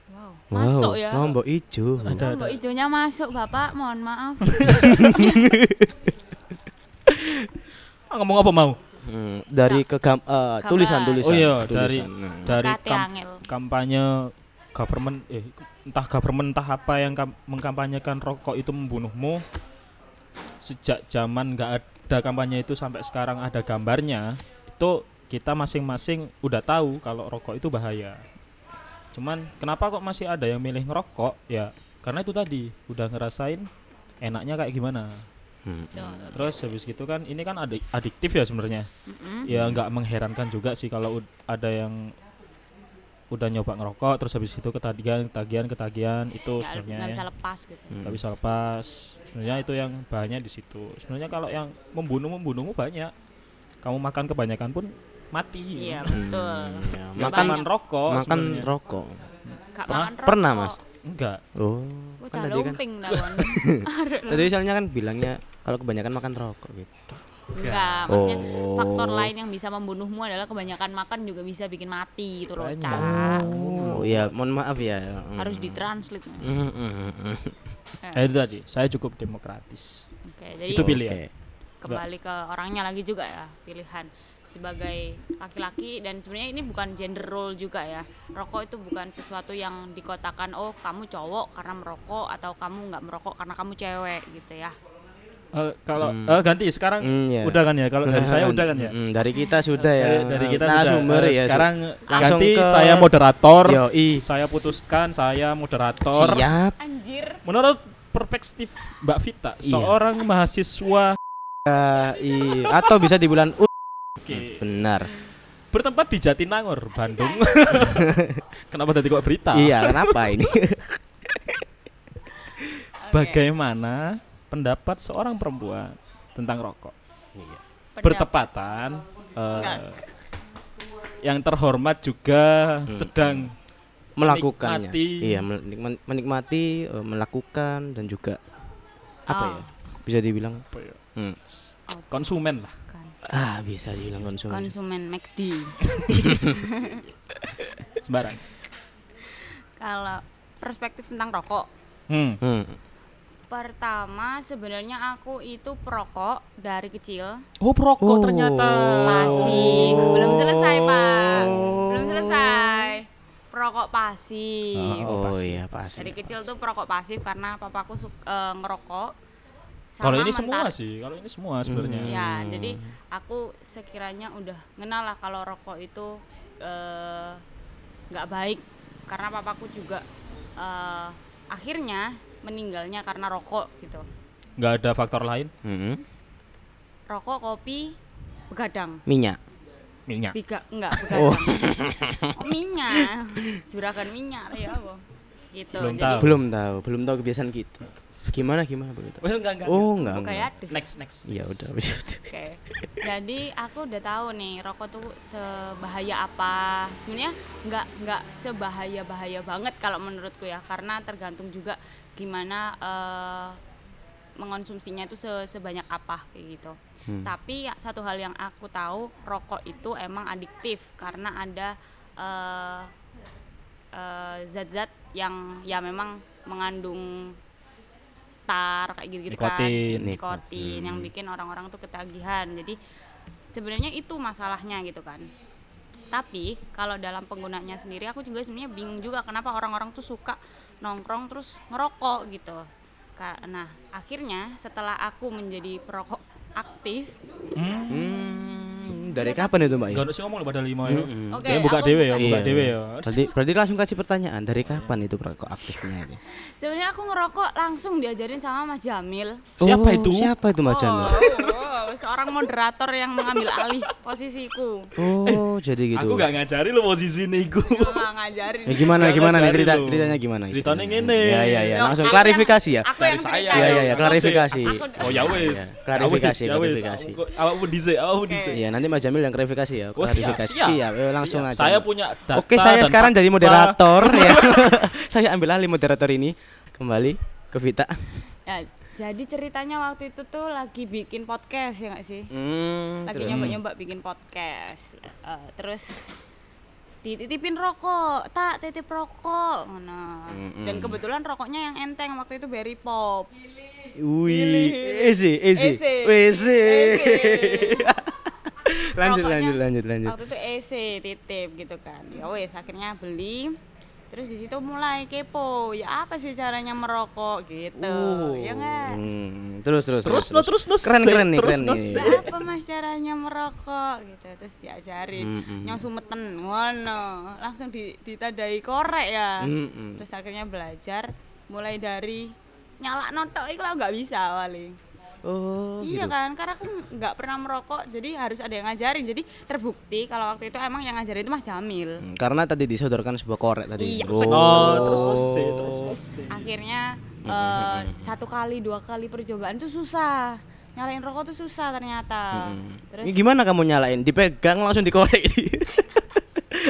Speaker 1: Wow.
Speaker 2: Wow,
Speaker 1: Masuk ya.
Speaker 2: lombok ijo
Speaker 3: ada ada
Speaker 1: Lombok hijaunya masuk Bapak, mohon maaf.
Speaker 3: Ah, ngomong apa mau
Speaker 2: Hmm, dari
Speaker 1: Nah.
Speaker 2: kegam eh, tulisan tulisan.
Speaker 3: Oh iya,
Speaker 2: tulisan.
Speaker 3: dari
Speaker 2: Hmm.
Speaker 3: dari
Speaker 1: Kate
Speaker 3: kam-
Speaker 1: angel.
Speaker 3: kampanye government eh entah government entah apa yang kam- mengkampanyekan rokok itu membunuhmu sejak zaman nggak ada kampanye itu sampai sekarang ada gambarnya itu kita masing-masing udah tahu kalau rokok itu bahaya cuman kenapa kok masih ada yang milih ngerokok ya karena itu tadi udah ngerasain enaknya kayak gimana
Speaker 2: Hmm.
Speaker 3: terus habis gitu kan ini kan adik adiktif ya sebenarnya
Speaker 1: Mm-mm.
Speaker 3: ya nggak mengherankan juga sih kalau ud- ada yang udah nyoba ngerokok terus habis itu ketagihan ketagihan ketagihan
Speaker 1: Iya,
Speaker 3: itu
Speaker 1: Nggak-
Speaker 3: sebenarnya
Speaker 1: nggak
Speaker 3: ya.
Speaker 1: bisa lepas gitu.
Speaker 3: nggak bisa lepas sebenarnya itu yang bahannya di situ sebenarnya kalau yang membunuh membunuhmu banyak kamu makan kebanyakan pun mati
Speaker 1: Iya
Speaker 3: Nggak
Speaker 1: betul.
Speaker 3: Hmm.
Speaker 2: Ya,
Speaker 1: Nggak
Speaker 2: makan
Speaker 3: cuman rokok
Speaker 2: makan
Speaker 3: sebenarnya.
Speaker 2: rokok.
Speaker 1: Nggak
Speaker 3: Pernah-
Speaker 1: makan rokok.
Speaker 2: pernah, Mas?
Speaker 3: enggak
Speaker 2: Oh.
Speaker 1: Wah,
Speaker 2: kan
Speaker 1: dah
Speaker 2: tadi kan
Speaker 1: lumping dah, Wan.
Speaker 2: tadi soalnya kan bilangnya kalau kebanyakan makan rokok gitu.
Speaker 1: Enggak, maksudnya
Speaker 2: Oh.
Speaker 1: faktor lain yang bisa membunuhmu adalah kebanyakan makan juga bisa bikin mati gitu loh, Cak.
Speaker 2: Oh iya, mohon maaf ya. Hmm.
Speaker 1: Harus ditranslate.
Speaker 2: Hmm, hmm, hmm, hmm.
Speaker 3: Eh, itu tadi saya cukup demokratis
Speaker 1: Oke, jadi
Speaker 3: Itu ya? pilihan.
Speaker 2: Oke.
Speaker 1: kembali ke orangnya lagi juga ya pilihan sebagai laki-laki dan sebenarnya ini bukan gender role juga ya rokok itu bukan sesuatu yang dikotakan oh kamu cowok karena merokok atau kamu nggak merokok karena kamu cewek gitu ya
Speaker 3: Eh, kalau
Speaker 2: Hmm.
Speaker 3: eh, ganti sekarang
Speaker 2: Hmm, ya.
Speaker 3: udah kan ya kalau dari saya udah kan ya
Speaker 2: Hmm, dari kita sudah ya.
Speaker 3: dari, dari kita sudah.
Speaker 2: narasumber
Speaker 3: Eh,
Speaker 2: ya.
Speaker 3: sekarang
Speaker 2: langsung
Speaker 3: ganti
Speaker 2: ke
Speaker 3: saya moderator
Speaker 2: Yoi.
Speaker 3: saya putuskan saya moderator
Speaker 2: Siap.
Speaker 1: anjir
Speaker 3: menurut perspektif Mbak Vita
Speaker 2: Iya.
Speaker 3: seorang mahasiswa
Speaker 2: I- atau bisa di bulan U.
Speaker 3: oke,
Speaker 2: Benar.
Speaker 3: bertempat di Jatinangor Bandung kenapa tadi kok berita
Speaker 2: Iya, kenapa ini?
Speaker 1: Oke,
Speaker 3: bagaimana pendapat seorang perempuan tentang rokok
Speaker 1: pendapat.
Speaker 3: bertepatan eh, yang terhormat juga
Speaker 2: Hmm.
Speaker 3: sedang
Speaker 2: melakukannya.
Speaker 3: Menikmati.
Speaker 2: Iya, menikma- menikmati, eh, melakukan dan juga apa
Speaker 1: Ah.
Speaker 2: ya? Bisa dibilang
Speaker 3: apa ya,
Speaker 2: hmm,
Speaker 3: konsumen lah
Speaker 1: Kons-
Speaker 2: ah bisa dibilang konsumen.
Speaker 1: konsumen McD
Speaker 3: sembarang
Speaker 1: kalau perspektif tentang rokok
Speaker 3: hmm.
Speaker 2: Hmm.
Speaker 1: pertama sebenarnya aku itu perokok dari kecil
Speaker 3: oh perokok
Speaker 2: Oh.
Speaker 3: ternyata
Speaker 1: Pasif. Belum selesai, Pak. Belum selesai. Perokok pasif.
Speaker 2: Oh,
Speaker 3: pasti.
Speaker 2: iya pasti.
Speaker 1: Dari kecil tuh perokok pasif karena papaku suka ngerokok. Sama
Speaker 3: kalau ini semua Hmm.
Speaker 1: mentar-
Speaker 3: sih kalau ini semua sebenarnya
Speaker 1: Ya, jadi aku sekiranya udah kenal lah kalau rokok itu eh, nggak baik karena papaku juga eh, akhirnya meninggalnya karena rokok gitu.
Speaker 3: nggak ada faktor lain
Speaker 2: Mm-mm.
Speaker 1: Rokok, kopi, begadang.
Speaker 2: Minyak.
Speaker 3: minyak
Speaker 1: Tiga enggak begadang. Oh, minyak. Juragan minyak ya apa? Gitu.
Speaker 3: Belum
Speaker 1: jadi
Speaker 3: tahu.
Speaker 2: Belum tahu, belum tahu kebiasaan gitu. Gimana gimana begitu?
Speaker 3: Well, enggak, enggak.
Speaker 2: Oh, enggak.
Speaker 1: buka
Speaker 2: enggak.
Speaker 1: ya. deh.
Speaker 3: Next, next.
Speaker 2: Iya,
Speaker 3: next.
Speaker 2: udah. wis, udah.
Speaker 1: Oke. Jadi aku udah tahu nih rokok tuh sebahaya apa. Sebenarnya enggak enggak sebahaya-bahaya banget kalau menurutku ya karena tergantung juga gimana eh, mengonsumsinya itu se- sebanyak apa kayak gitu. Tapi ya, satu hal yang aku tahu rokok itu emang adiktif karena ada eh, eh, zat-zat yang ya memang mengandung tar kayak gitu, -gitu
Speaker 3: Nikotin.
Speaker 1: kan nikotin yang bikin orang-orang tuh ketagihan jadi sebenarnya itu masalahnya gitu kan tapi kalau dalam penggunanya sendiri aku juga sebenarnya bingung juga kenapa orang-orang tuh suka nongkrong terus ngerokok gitu Ka- nah akhirnya setelah aku menjadi perokok aktif
Speaker 3: Hmm.
Speaker 2: Hmm, dari kapan itu, Mbak?
Speaker 3: Enggak ada sih ngomong pada lima ya.
Speaker 2: Mm-mm.
Speaker 1: oke
Speaker 3: Dia buka
Speaker 1: aku-
Speaker 3: dewe ya,
Speaker 2: Iya.
Speaker 3: buka dewe ya.
Speaker 2: Berarti, berarti langsung kasih pertanyaan, dari kapan itu perokok aktifnya ini?
Speaker 1: sebenarnya aku ngerokok langsung diajarin sama Mas Jamil
Speaker 3: Siapa itu?
Speaker 2: Oh, Siapa itu Mas Jan?
Speaker 1: Oh, wow, seorang moderator yang mengambil alih posisiku.
Speaker 2: Oh, jadi gitu.
Speaker 3: Aku gak ngajari lo posisi niku.
Speaker 1: Nggak ngajarin.
Speaker 2: Ya, gimana
Speaker 3: Nggak
Speaker 2: gimana nih
Speaker 3: ngajarin
Speaker 2: cerita
Speaker 3: lu.
Speaker 2: ceritanya gimana? gitu?
Speaker 3: Ceritanya ngene.
Speaker 2: Ya ya ya,
Speaker 1: Loh, aku
Speaker 2: langsung
Speaker 1: yang-
Speaker 2: klarifikasi ya.
Speaker 1: Aku yang
Speaker 3: Dari
Speaker 1: cerita.
Speaker 3: saya.
Speaker 2: Iya, iya,
Speaker 1: dong.
Speaker 2: iya,
Speaker 3: Aku
Speaker 2: klarifikasi.
Speaker 3: sih. Oh ya wes.
Speaker 2: Iya, klarifikasi,
Speaker 3: Ya wes, ya wes.
Speaker 2: klarifikasi.
Speaker 3: Aku- Awakmu dhisik, awakmu dhisik.
Speaker 2: Iya, nanti Mas Jamil yang klarifikasi ya.
Speaker 3: Oh, siap,
Speaker 2: klarifikasi.
Speaker 3: siap.
Speaker 2: eh, langsung
Speaker 3: Siap.
Speaker 2: aja.
Speaker 3: Saya punya data
Speaker 2: Oke, saya
Speaker 3: dan
Speaker 2: sekarang jadi
Speaker 3: fakta.
Speaker 2: moderator ya. saya ambil alih moderator ini kembali ke Vita.
Speaker 1: Ya, jadi ceritanya waktu itu tuh lagi bikin podcast ya nggak sih?
Speaker 2: Hmm,
Speaker 1: Lagi
Speaker 2: terus.
Speaker 1: nyoba-nyoba bikin podcast. Eh, terus dititipin rokok, tak titip rokok, ngono.
Speaker 2: Hmm,
Speaker 1: Dan kebetulan rokoknya yang enteng waktu itu berry pop.
Speaker 2: Wih, easy, easy,
Speaker 1: Easy.
Speaker 2: easy. lanjut
Speaker 1: Rokoknya
Speaker 2: lanjut lanjut lanjut
Speaker 1: waktu itu EC titip gitu kan ya wes akhirnya beli terus di situ mulai kepo ya apa sih caranya merokok gitu
Speaker 2: Uh.
Speaker 1: ya enggak
Speaker 2: Hmm, terus terus
Speaker 3: Terus, no, terus, no,
Speaker 2: keren
Speaker 3: say,
Speaker 2: keren nih
Speaker 3: terus,
Speaker 2: keren
Speaker 3: no,
Speaker 2: nih
Speaker 3: say.
Speaker 1: Ya apa mas caranya merokok gitu terus diajarin
Speaker 2: Mm-mm.
Speaker 1: nyong sumeten ngono langsung di, ditandai korek ya
Speaker 2: Mm-mm.
Speaker 1: terus akhirnya belajar mulai dari nyala notok itu lah nggak bisa awalnya
Speaker 2: oh
Speaker 1: iya
Speaker 2: gitu.
Speaker 1: kan karena aku nggak pernah merokok jadi harus ada yang ngajarin jadi terbukti kalau waktu itu emang yang ngajarin itu mas Jamil
Speaker 2: Hmm, karena tadi disodorkan sebuah korek tadi
Speaker 1: Iya,
Speaker 3: Oh, terus ose, terus ose.
Speaker 1: akhirnya eh, satu kali dua kali percobaan tuh susah nyalain rokok tuh susah ternyata terus
Speaker 2: Ini gimana kamu nyalain? Dipegang langsung dikorek.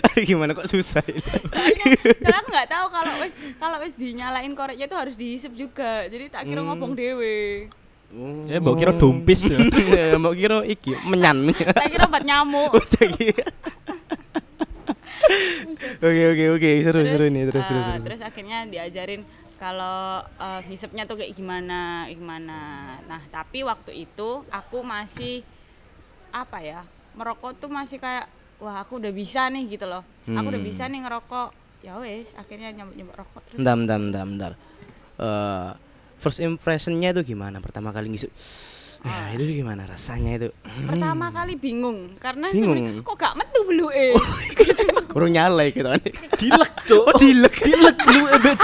Speaker 2: Aduh, gimana kok susah ini?
Speaker 1: soalnya soalnya aku nggak tahu kalau wis kalau wis dinyalain koreknya tuh harus dihisap juga jadi tak
Speaker 2: Mm.
Speaker 1: kira ngobong dewe
Speaker 2: Oh.
Speaker 3: Ya mbok kira dompis ya.
Speaker 2: Ya, Mbak Kiro iki menyan.
Speaker 1: tak kira obat nyamuk
Speaker 2: Oke oke oke seru seru nih
Speaker 1: eh,
Speaker 2: terus terus. terus.
Speaker 1: terus akhirnya diajarin kalau eh, hisapnya tuh kayak gimana kayak gimana nah tapi waktu itu aku masih apa ya merokok tuh masih kayak wah aku udah bisa nih gitu loh aku udah
Speaker 2: Hmm. Nah,
Speaker 1: bisa nih ngerokok ya wes akhirnya nyamuk nyamuk rokok terus
Speaker 2: Bentar, bentar, bentar, bentar. Eh, first impressionnya itu gimana? Pertama kali ngisuk. Nah, itu gimana rasanya itu?
Speaker 1: pertama kali bingung karena
Speaker 2: hmm. Bingung. Oh.
Speaker 1: sebenarnya kok gak metu belu eh
Speaker 2: Kurang nyala gitu kan.
Speaker 3: Dilek, Cuk.
Speaker 2: Oh, dilek, dilek lu EBD.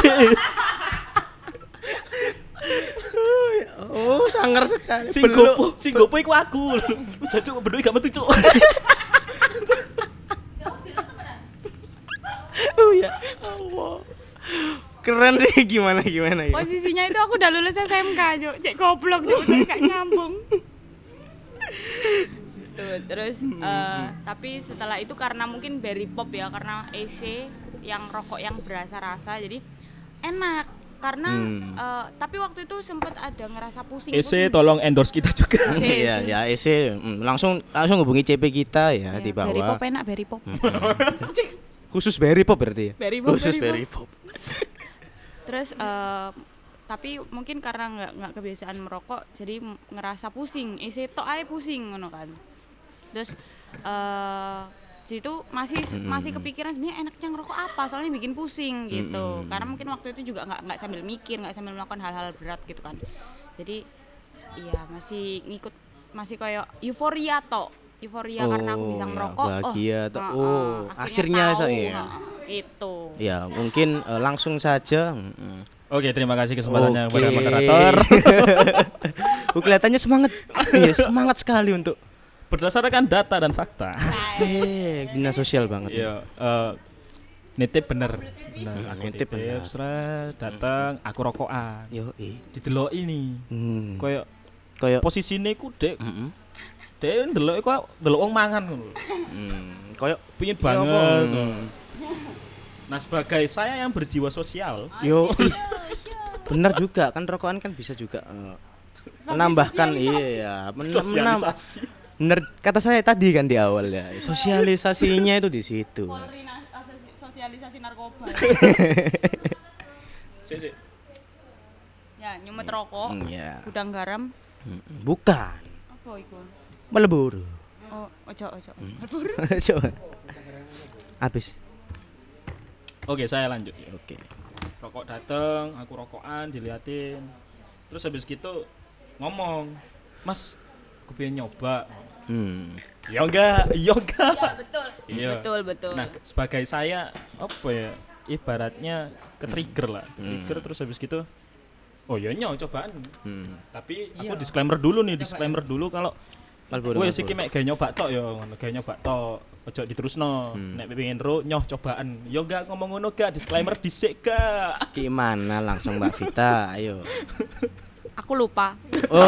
Speaker 2: Oh, sangar sekali.
Speaker 3: Sing
Speaker 2: Belum.
Speaker 3: gopo, sing gopo iku aku. Lu jancuk berdua gak metu, Cuk.
Speaker 2: Oh ya. Allah. Keren sih gimana gimana
Speaker 1: Iya.
Speaker 2: ya.
Speaker 1: posisinya itu aku udah lulus SMK Cuk. cek goblok Cuk. Tapi gak nyambung Tuh, terus
Speaker 2: Hmm,
Speaker 1: eh, tapi setelah itu karena mungkin berry pop ya karena EC yang rokok yang berasa rasa jadi enak karena
Speaker 2: Hmm.
Speaker 1: eh, tapi waktu itu sempet ada ngerasa pusing
Speaker 3: Ese tolong endorse kita juga.
Speaker 1: Sih,
Speaker 2: Iya,
Speaker 1: sih.
Speaker 2: ya, isi mm, langsung langsung hubungi CP kita ya di
Speaker 1: berry Iya, pop
Speaker 2: bawah. Hmm.
Speaker 1: enak berry pop
Speaker 2: Khusus Berry Pop berarti ya.
Speaker 1: Berry Pop,
Speaker 2: Khusus
Speaker 1: Berry
Speaker 2: Berry Pop.
Speaker 1: terus eh, tapi mungkin karena nggak nggak kebiasaan merokok jadi m- ngerasa pusing isi tok ae pusing ngono kan terus eh situ masih masih kepikiran sebenarnya enaknya ngerokok apa soalnya bikin pusing gitu karena mungkin waktu itu juga nggak nggak sambil mikir nggak sambil melakukan hal-hal berat gitu kan jadi iya masih ngikut masih kayak euforia tok euforia karena aku bisa
Speaker 2: Oh, iya,
Speaker 1: ngerokok
Speaker 2: bahagia tok.
Speaker 1: ah, ah,
Speaker 2: Oh, akhirnya
Speaker 1: tahu,
Speaker 2: so- iya.
Speaker 1: ah, gitu
Speaker 2: Ya, mungkin eh, langsung saja. mm.
Speaker 3: Oke, terima kasih kesempatannya kepada
Speaker 2: Oke.
Speaker 3: moderator.
Speaker 2: Oh, kelihatannya semangat. Iya, semangat sekali untuk
Speaker 3: Berdasarkan data dan fakta.
Speaker 2: eh, dinas sosial banget.
Speaker 3: Iya, eh nitip bener. Bener, aku
Speaker 2: Nitip bener.
Speaker 3: seret, datang, aku rokokan.
Speaker 2: Yo, eh.
Speaker 3: Didelok ini. Hmm.
Speaker 2: Hmm.
Speaker 3: Kayak
Speaker 2: Kayak
Speaker 3: posisine ku dek,
Speaker 2: Mm-mm.
Speaker 3: dek ndelok iku ndelok wong mangan ngono. lho.
Speaker 2: Hmm, Kayak
Speaker 3: Pingin
Speaker 2: Iya,
Speaker 3: banget.
Speaker 2: apa?
Speaker 3: ngono. Nah, sebagai saya yang berjiwa sosial,
Speaker 2: yo. ih. Bener juga kan rokokan kan bisa juga eh, menambahkan iya, men- menam-
Speaker 3: sosialisasi.
Speaker 2: bener kata saya tadi kan di awal ya. Sosialisasinya itu di situ.
Speaker 1: sosialisasi narkoba
Speaker 3: Sik, sik.
Speaker 1: ya nyumet rokok
Speaker 2: Hmm, ya.
Speaker 1: gudang garam
Speaker 2: Mm-mm. Bukan
Speaker 1: apa iku
Speaker 2: melebur.
Speaker 1: oh ojo ojo
Speaker 2: Hmm. Coba. Habis.
Speaker 3: Oke, saya lanjut ya.
Speaker 2: Oke.
Speaker 3: Rokok dateng, aku rokokan, diliatin. Terus habis gitu ngomong, "Mas, aku pengen nyoba."
Speaker 2: Hmm.
Speaker 3: Ya enggak, iya enggak.
Speaker 1: betul
Speaker 3: Iya.
Speaker 1: betul betul
Speaker 3: Nah, sebagai saya apa ya? Ibaratnya ke trigger lah, ke trigger terus habis gitu. Oh ya nyok cobaan.
Speaker 2: Hmm.
Speaker 3: Tapi aku disclaimer dulu nih, disclaimer dulu kalau
Speaker 2: Malboro.
Speaker 3: gue sih
Speaker 2: Malboro.
Speaker 3: mek gak nyoba tok ya, ngono gak nyoba tok. Ojo diterusno. Nek pengen ro nyoh cobaan. Yo gak ngomong ngono gak disclaimer dhisik gak.
Speaker 2: Gimana langsung Mbak Vita? Ayo.
Speaker 1: aku lupa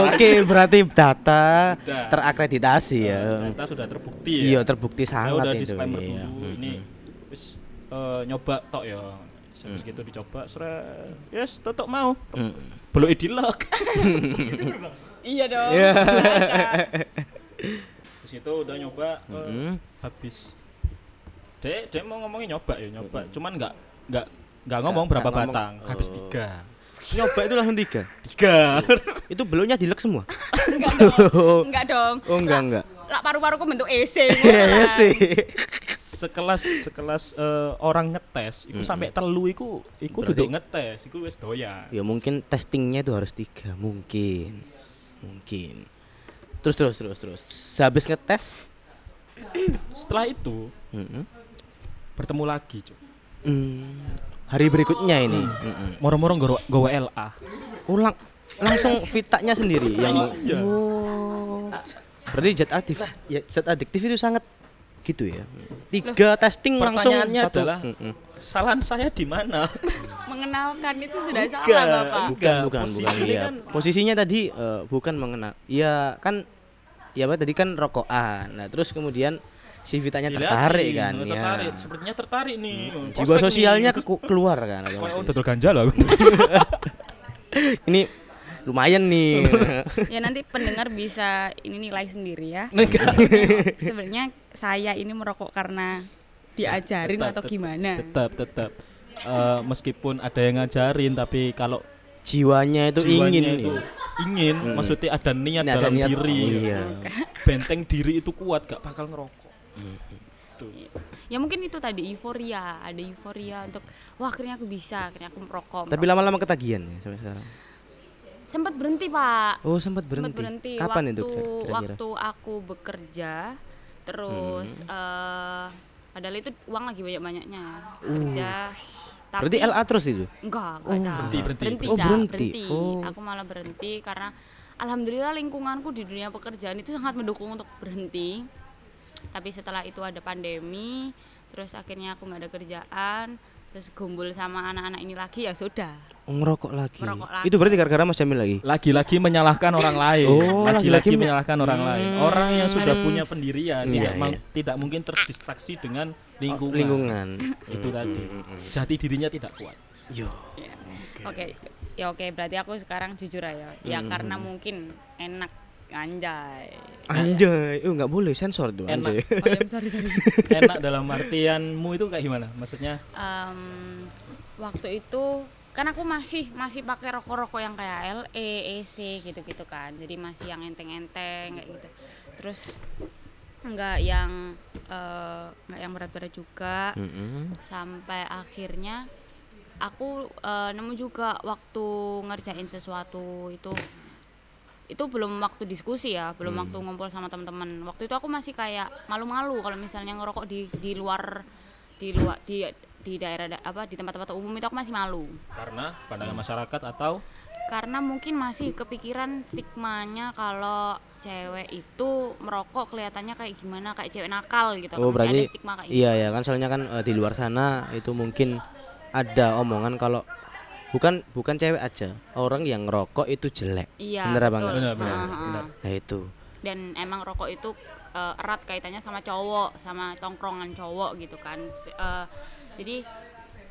Speaker 2: Oke, berarti data
Speaker 3: Sudah.
Speaker 2: terakreditasi ya.
Speaker 3: Nah, Ternyata sudah terbukti ya.
Speaker 2: Iya, terbukti
Speaker 3: saya
Speaker 2: sangat
Speaker 3: udah
Speaker 2: itu.
Speaker 3: disclaimer
Speaker 2: iya.
Speaker 3: dulu ini terus eh, nyoba tok ya terus gitu
Speaker 2: Mm.
Speaker 3: dicoba seret yes tetep mau belum idilok
Speaker 1: iya dong
Speaker 3: terus itu udah nyoba eh,
Speaker 2: Mm-mm.
Speaker 3: habis dek dek mau ngomongin nyoba ya nyoba cuman nggak nggak nggak ngomong berapa
Speaker 2: nggak ngomong.
Speaker 3: batang habis
Speaker 2: Oh.
Speaker 3: tiga
Speaker 2: Nyoba itu langsung tiga.
Speaker 3: tiga
Speaker 2: Itu belumnya dilek semua.
Speaker 1: enggak dong enggak dong
Speaker 2: Oh enggak enggak.
Speaker 1: lak paru-paruku bentuk E EC.
Speaker 2: Iya sih.
Speaker 3: sekelas sekelas eh, orang ngetes iku sampai telu iku iku
Speaker 2: Berarti-
Speaker 3: duduk ngetes iku wis doyan
Speaker 2: Ya mungkin testingnya itu harus tiga mungkin, mungkin. Terus terus terus terus. Sehabis ngetes,
Speaker 3: setelah itu
Speaker 2: mm-mm.
Speaker 3: bertemu lagi cuk
Speaker 2: Hmm, hari berikutnya ini mm-mm.
Speaker 3: moro-moro nggawa nggawa LA
Speaker 2: ulang langsung fitanya sendiri yang
Speaker 3: iya
Speaker 2: berarti zat adiktif ya zat adiktif itu sangat gitu ya tiga testing langsung
Speaker 3: pertanyaannya
Speaker 2: satu
Speaker 3: adalah-
Speaker 2: Mm-mm.
Speaker 3: kesalahan saya di mana
Speaker 1: Mengenalkan itu sudah
Speaker 3: Enggak.
Speaker 1: salah, Bapak.
Speaker 2: bukan
Speaker 3: Enggak,
Speaker 2: bukan bukan
Speaker 3: posisinya
Speaker 2: iya.
Speaker 3: kan-
Speaker 2: posisinya tadi eh, bukan mengenal ya kan ya Pak, tadi kan rokokan nah terus kemudian si Vitanya
Speaker 3: Dilihatin,
Speaker 2: tertarik kan ya
Speaker 3: tertarik sepertinya tertarik nih
Speaker 2: jiwa
Speaker 3: Prospek
Speaker 2: sosialnya
Speaker 3: nih.
Speaker 2: keku- keluar kan
Speaker 3: Kayak
Speaker 2: otomatis.
Speaker 3: untuk ganja lah
Speaker 2: ini lumayan nih
Speaker 1: Ya nanti pendengar bisa ini nilai sendiri ya.
Speaker 2: Enggak.
Speaker 1: Sebenarnya saya ini merokok karena diajarin
Speaker 3: Tetap,
Speaker 1: atau
Speaker 3: tetap,
Speaker 1: gimana.
Speaker 3: tetap tetap Eh, meskipun ada yang ngajarin tapi kalau
Speaker 2: jiwanya itu
Speaker 3: jiwanya
Speaker 2: ingin
Speaker 3: itu
Speaker 2: ya.
Speaker 3: ingin maksudnya ada niat
Speaker 2: Ini ada
Speaker 3: dalam
Speaker 2: niat-
Speaker 3: diri
Speaker 2: iya.
Speaker 3: benteng diri itu kuat gak bakal ngerokok Tuh.
Speaker 1: Ya mungkin itu tadi euforia, ada euforia untuk wah akhirnya aku bisa, akhirnya aku merokok.
Speaker 2: tapi lama-lama ketagihan ya sampai sekarang
Speaker 1: sempat berhenti, Pak.
Speaker 2: oh sempat berhenti,
Speaker 1: Sempet berhenti
Speaker 2: kapan
Speaker 1: waktu,
Speaker 2: itu kira-kira
Speaker 1: waktu aku bekerja terus
Speaker 2: Hmm.
Speaker 1: eh, padahal itu uang lagi banyak banyaknya
Speaker 2: Uh.
Speaker 1: kerja tapi
Speaker 2: berarti LA terus itu
Speaker 1: enggak enggak Cak.
Speaker 3: berhenti, berhenti.
Speaker 2: Oh,
Speaker 1: Cak,
Speaker 2: berhenti.
Speaker 1: berhenti.
Speaker 2: Oh.
Speaker 1: aku malah berhenti karena alhamdulillah lingkunganku di dunia pekerjaan itu sangat mendukung untuk berhenti tapi setelah itu ada pandemi terus akhirnya aku nggak ada kerjaan terus gumbul sama anak-anak ini lagi ya sudah
Speaker 2: Oh, ngerokok lagi.
Speaker 1: Ngerokok lagi.
Speaker 2: itu berarti gara-gara Mas Jamil lagi
Speaker 3: lagi-lagi menyalahkan orang lain
Speaker 2: Oh, lagi-lagi
Speaker 3: lagi-lagi
Speaker 2: menya-
Speaker 3: menyalahkan orang lain orang yang sudah punya pendirian
Speaker 2: Iya,
Speaker 3: tidak mang-
Speaker 2: iya.
Speaker 3: tidak mungkin terdistraksi dengan lingkungan,
Speaker 2: lingkungan Hmm,
Speaker 3: itu tadi jati dirinya tidak kuat
Speaker 2: yo
Speaker 1: Oke, ya oke berarti aku sekarang jujur aja. Ya karena mungkin enak anjay.
Speaker 2: anjay oh nggak boleh sensor tuh
Speaker 3: Enak.
Speaker 2: anjay
Speaker 1: Oh, ya, sorry sorry.
Speaker 3: enak dalam artianmu itu kayak gimana maksudnya
Speaker 1: Em, waktu itu kan aku masih masih pakai rokok-rokok yang kayak LE, EC gitu-gitu kan. Jadi masih yang enteng-enteng kayak gitu. Terus nggak yang eh, nggak yang berat-berat juga. sampai akhirnya aku eh, nemu juga waktu ngerjain sesuatu itu itu belum waktu diskusi ya belum waktu
Speaker 2: Hmm.
Speaker 1: ngumpul sama teman-teman waktu itu aku masih kayak malu-malu kalau misalnya ngerokok di di luar di luar di di daerah da- apa di tempat-tempat umum itu aku masih malu
Speaker 3: karena
Speaker 2: Hmm.
Speaker 3: pandangan masyarakat atau
Speaker 1: karena mungkin masih kepikiran stigmanya kalau cewek itu merokok kelihatannya kayak gimana kayak cewek nakal gitu
Speaker 2: oh
Speaker 1: Masih
Speaker 2: berarti
Speaker 1: ada stigma kayak
Speaker 2: iya ya kan soalnya kan eh, di luar sana itu mungkin ada omongan kalau bukan bukan cewek aja orang yang ngerokok itu jelek
Speaker 1: iya
Speaker 2: bener apa
Speaker 1: betul.
Speaker 2: enggak
Speaker 3: Bener, bener,
Speaker 1: Ah, ah.
Speaker 3: bener.
Speaker 2: nah itu
Speaker 1: dan emang rokok itu eh, erat kaitannya sama cowok sama tongkrongan cowok gitu kan Eh, jadi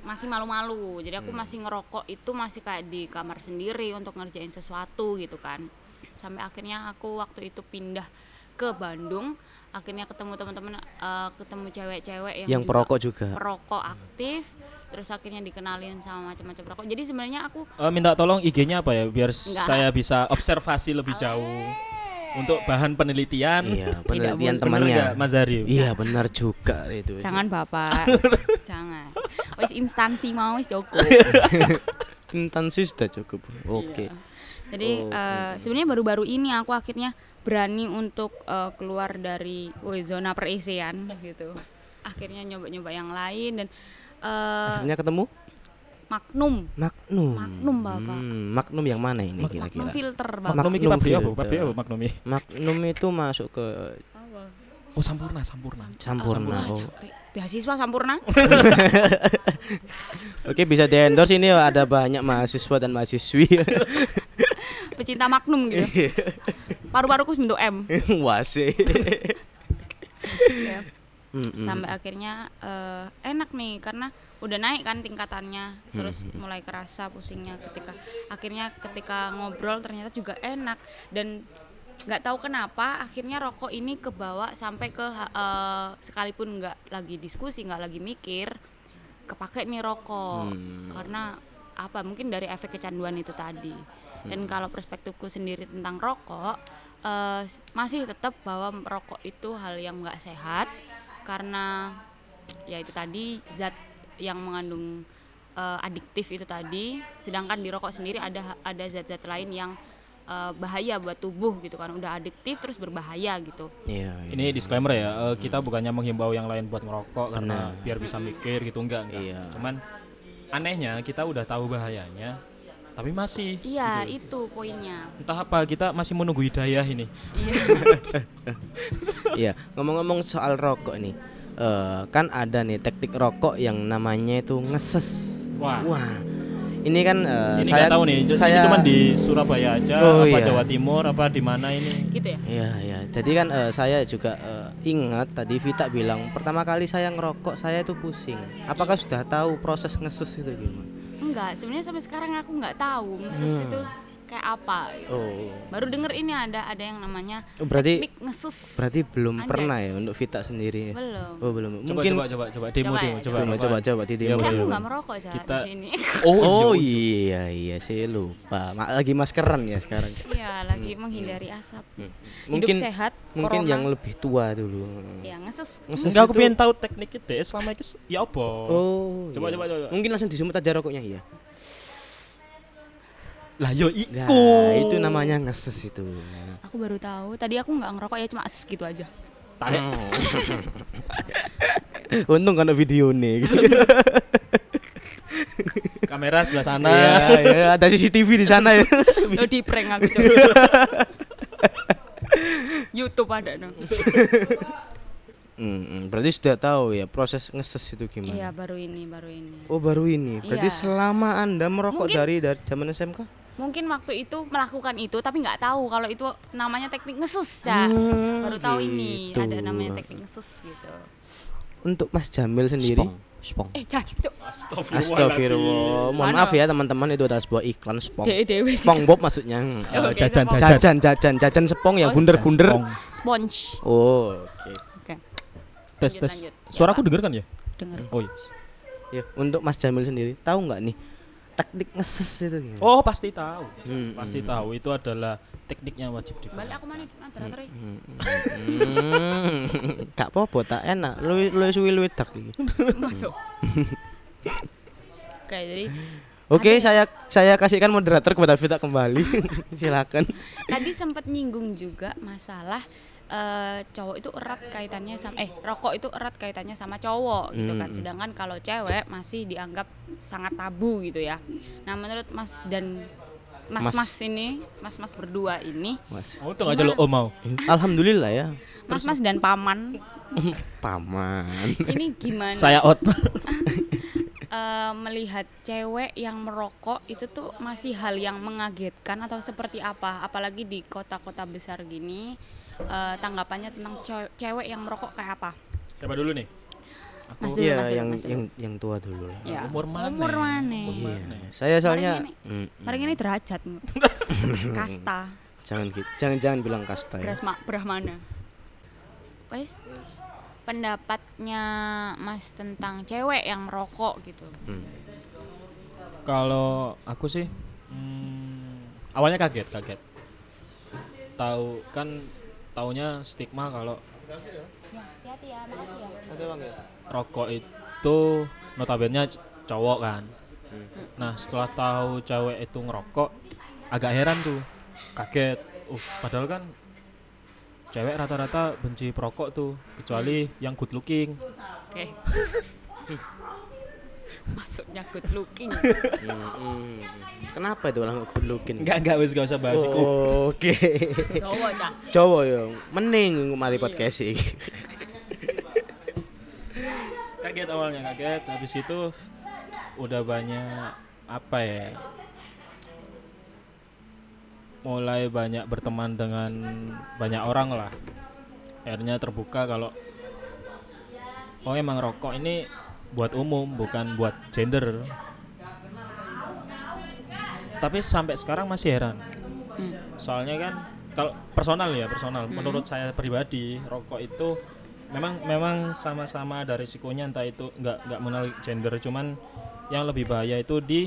Speaker 1: masih malu-malu jadi aku
Speaker 2: Hmm.
Speaker 1: masih ngerokok itu masih kayak di kamar sendiri untuk ngerjain sesuatu gitu kan sampai akhirnya aku waktu itu pindah ke Bandung akhirnya ketemu teman-teman eh, ketemu cewek-cewek yang,
Speaker 2: yang
Speaker 1: juga
Speaker 2: perokok ya? juga
Speaker 1: perokok aktif terus akhirnya dikenalin sama macam-macam perokok jadi sebenarnya aku
Speaker 3: Eh, minta tolong IG-nya apa ya biar
Speaker 1: Enggak.
Speaker 3: saya bisa observasi lebih jauh untuk bahan penelitian
Speaker 2: iya
Speaker 1: Tidak
Speaker 2: penelitian
Speaker 1: boleh.
Speaker 2: temannya
Speaker 3: Bener nggak, Mas Zari?
Speaker 2: iya benar juga itu
Speaker 1: jangan bapak jangan wis instansi mau wis cukup
Speaker 2: intensi sudah cukup
Speaker 1: Iya.
Speaker 2: oke Oh,
Speaker 1: Jadi eh,
Speaker 2: iya,
Speaker 1: sebenarnya baru-baru ini aku akhirnya berani untuk eh, keluar dari woi, zona perisian gitu. Akhirnya nyoba-nyoba yang lain dan eh,
Speaker 2: akhirnya ketemu
Speaker 1: Magnum.
Speaker 2: Magnum.
Speaker 1: Magnum, Bapak.
Speaker 2: Hmm, Magnum yang mana ini
Speaker 1: Magnum
Speaker 2: kira-kira?
Speaker 1: filter, Bapak.
Speaker 3: Magnum iki
Speaker 2: Magnum
Speaker 3: pabrik apa?
Speaker 2: filter.
Speaker 3: Pabrik apa Magnum iki?
Speaker 2: Magnum itu masuk ke
Speaker 3: Oh, sampurna, sampurna.
Speaker 2: Sampurna.
Speaker 1: Wah,
Speaker 2: Oh.
Speaker 1: cakri. Beasiswa Sampurna.
Speaker 2: Oke, bisa di endorse ini ada banyak mahasiswa dan mahasiswi.
Speaker 1: Pecinta Magnum gitu.
Speaker 2: Iya.
Speaker 1: Paru-paruku bentuk M.
Speaker 2: Wase.
Speaker 1: Ya.
Speaker 2: Iya.
Speaker 1: sampai akhirnya eh, enak nih karena udah naik kan tingkatannya terus mulai kerasa pusingnya ketika akhirnya ketika ngobrol ternyata juga enak dan nggak tahu kenapa akhirnya rokok ini kebawa sampai ke ha- eh, sekalipun nggak lagi diskusi nggak lagi mikir kepake nih rokok karena apa mungkin dari efek kecanduan itu tadi dan kalau perspektifku sendiri tentang rokok eh, masih tetap bahwa merokok itu hal yang nggak sehat karena ya itu tadi zat yang mengandung eh, adiktif itu tadi sedangkan di rokok sendiri ada ada zat-zat lain yang eh, bahaya buat tubuh gitu kan udah adiktif terus berbahaya gitu
Speaker 2: Iya.
Speaker 3: Ini disclaimer ya, eh, kita bukannya menghimbau yang lain buat ngerokok karena biar bisa mikir gitu enggak enggak.
Speaker 2: Iya.
Speaker 3: Cuman anehnya kita udah tahu bahayanya tapi masih
Speaker 1: iya itu poinnya
Speaker 3: entah apa kita masih menunggu hidayah ini.
Speaker 2: Iya, ngomong-ngomong soal rokok nih. eh, kan ada nih teknik rokok yang namanya itu ngeses.
Speaker 3: Wah.
Speaker 2: Wah. Ini kan eh,
Speaker 3: ini
Speaker 2: saya
Speaker 3: nggak tahu nih, ju-
Speaker 2: saya
Speaker 3: ini cuman di Surabaya aja
Speaker 2: Oh,
Speaker 3: apa
Speaker 2: iya.
Speaker 3: Jawa Timur apa di mana ini.
Speaker 1: gitu ya
Speaker 2: Iya, iya. Jadi kan eh, saya juga eh, ingat tadi Vita bilang pertama kali saya ngerokok saya itu pusing. Apakah sudah tahu proses ngeses itu gimana?
Speaker 1: enggak sebenarnya sampai sekarang aku nggak tahu ngeses
Speaker 2: Hmm.
Speaker 1: itu kayak apa gitu.
Speaker 2: Oh.
Speaker 1: baru denger ini ada ada yang namanya
Speaker 2: Oh, berarti-
Speaker 1: teknik ngeses
Speaker 2: Berarti belum
Speaker 1: Ada.
Speaker 2: pernah ya untuk Vita sendiri. ya?
Speaker 1: belum
Speaker 2: Oh, belum.
Speaker 3: Coba
Speaker 2: Mungkin
Speaker 3: coba coba coba demo
Speaker 1: Coba ya,
Speaker 3: demo coba.
Speaker 2: Coba, coba coba di
Speaker 1: Eh,
Speaker 2: demo.
Speaker 1: aku
Speaker 2: coba.
Speaker 1: nggak merokok Zah,
Speaker 3: Kita-
Speaker 1: di sini
Speaker 2: Oh, iya iya sih lupa. Ma- lagi maskeran ya sekarang.
Speaker 1: iya lagi menghindari asap
Speaker 2: Hmm, Mungkin-
Speaker 1: hidup sehat
Speaker 2: Mungkin
Speaker 1: corona.
Speaker 2: yang lebih tua dulu.
Speaker 1: ya ngeses
Speaker 2: Ngeses
Speaker 3: Enggak aku
Speaker 2: itu-
Speaker 3: pengen tahu tekniknya deh selama itu ya apa.
Speaker 2: Oh.
Speaker 3: Coba,
Speaker 2: iya.
Speaker 3: coba, coba.
Speaker 2: Mungkin langsung disumut aja rokoknya iya.
Speaker 3: Lah yo
Speaker 2: Nah,
Speaker 3: iku.
Speaker 2: itu namanya ngeses itu. Nah.
Speaker 1: Hmm, aku baru tahu tadi aku nggak ngerokok ya cuma ases gitu aja
Speaker 3: Tarik.
Speaker 2: Untung kan ada video nih.
Speaker 3: kamera sebelah sana.
Speaker 2: Iya, iya, ada CCTV di sana ya.
Speaker 1: lo di prank aku coba YouTube ada dong
Speaker 2: Mm, mm, berarti sudah tahu ya proses ngeses itu
Speaker 1: iya
Speaker 2: gimana.
Speaker 1: baru ini baru ini
Speaker 2: Oh, baru ini. Berarti
Speaker 1: Iya.
Speaker 2: selama Anda merokok
Speaker 1: Mungkin-
Speaker 2: dari dari zaman SMK?
Speaker 1: mungkin waktu itu melakukan itu tapi nggak tahu kalau itu namanya teknik ngesus cah
Speaker 2: Hmm,
Speaker 1: baru tahu ini
Speaker 2: gitu.
Speaker 1: ada namanya teknik ngesus gitu
Speaker 2: Untuk Mas Jamil sendiri?
Speaker 4: Spong.
Speaker 1: eh cah cuk
Speaker 2: Astagfirullah. Mohon
Speaker 1: Mana?
Speaker 2: maaf ya teman-teman itu adalah sebuah iklan spong.
Speaker 1: dewe dewe sih
Speaker 2: Spongebob maksudnya.
Speaker 3: Ya, jajan jajan.
Speaker 2: Jajan jajan jajan sepong ya bunder-bunder.
Speaker 3: Spong.
Speaker 1: sponge
Speaker 2: Oh, oke.
Speaker 1: oke
Speaker 3: Tes
Speaker 1: Lanjut,
Speaker 3: tes.
Speaker 1: lanjut. Ya,
Speaker 3: Suara aku
Speaker 1: Pak.
Speaker 3: denger kan ya?
Speaker 1: denger
Speaker 2: Hmm.
Speaker 3: Oh yes.
Speaker 2: Ya, untuk Mas Jamil sendiri, tahu nggak nih teknik ngeses itu gimana?
Speaker 3: Oh pasti tahu.
Speaker 2: Hmm,
Speaker 3: Pasti tahu itu adalah teknik yang wajib
Speaker 1: balik
Speaker 3: dipakai.
Speaker 1: aku mana ada teri
Speaker 2: Hmm. Gak apa-apa, tak enak. Lu lu suwi lu tak iki.
Speaker 1: oke jadi
Speaker 2: Oke, saya saya kasihkan moderator kepada Vita kembali. Silakan.
Speaker 1: tadi sempat nyinggung juga masalah eh, cowok itu erat kaitannya sama eh rokok itu erat kaitannya sama cowok gitu kan sedangkan kalau cewek masih dianggap sangat tabu gitu ya nah menurut mas dan mas mas ini mas mas berdua ini
Speaker 2: Mas.
Speaker 3: Oh, untung aja lo oh mau.
Speaker 2: Alhamdulillah ya.
Speaker 1: mas mas dan paman
Speaker 2: Paman.
Speaker 1: ini gimana
Speaker 3: Saya out.
Speaker 1: eh, melihat cewek yang merokok itu tuh masih hal yang mengagetkan atau seperti apa apalagi di kota-kota besar gini eh, tanggapannya tentang ce- cewek yang merokok kayak apa
Speaker 3: Siapa dulu nih?
Speaker 1: Mas dulu,
Speaker 2: Iya,
Speaker 1: mas dulu,
Speaker 2: yang
Speaker 1: mas dulu.
Speaker 2: yang yang tua dulu lah.
Speaker 1: Ya.
Speaker 3: Umur mana?
Speaker 1: Umur mana?
Speaker 2: Iya. Saya soalnya Mm,
Speaker 1: Mari ini derajat. Ngo. Kasta,
Speaker 2: jangan gitu. Jangan-jangan bilang kasta ya.
Speaker 1: Brahma, Brahmana. Wes. Pendapatnya Mas tentang cewek yang merokok gitu.
Speaker 2: Hmm.
Speaker 3: Kalau aku sih hmm, awalnya kaget kaget. Tahu kan taunya stigma kalau
Speaker 1: Hati-hati ya, makasih ya.
Speaker 3: rokok itu notabene c- cowok kan. Nah setelah tahu cewek itu ngerokok, agak heran tuh, kaget. Uh, padahal kan cewek rata-rata benci perokok tuh, kecuali yang good looking.
Speaker 1: Oke. Masuknya good looking.
Speaker 2: Mm. Kenapa itu orang good looking?
Speaker 3: Enggak enggak wes gak usah bahas
Speaker 2: Oh,
Speaker 3: iku.
Speaker 2: Oke.
Speaker 1: Cowok, Cak.
Speaker 2: Jawa ya. Mending mari podcast
Speaker 1: Iya.
Speaker 2: iki.
Speaker 3: Kaget awalnya kaget, habis itu udah banyak apa ya? Mulai banyak berteman dengan banyak orang lah. Akhirnya terbuka kalau oh emang rokok ini buat umum bukan buat gender. Tapi sampai sekarang masih heran. Soalnya kan kalau personal ya personal. Menurut saya pribadi rokok itu memang memang sama-sama ada risikonya entah itu nggak nggak mengenal gender cuman yang lebih bahaya itu di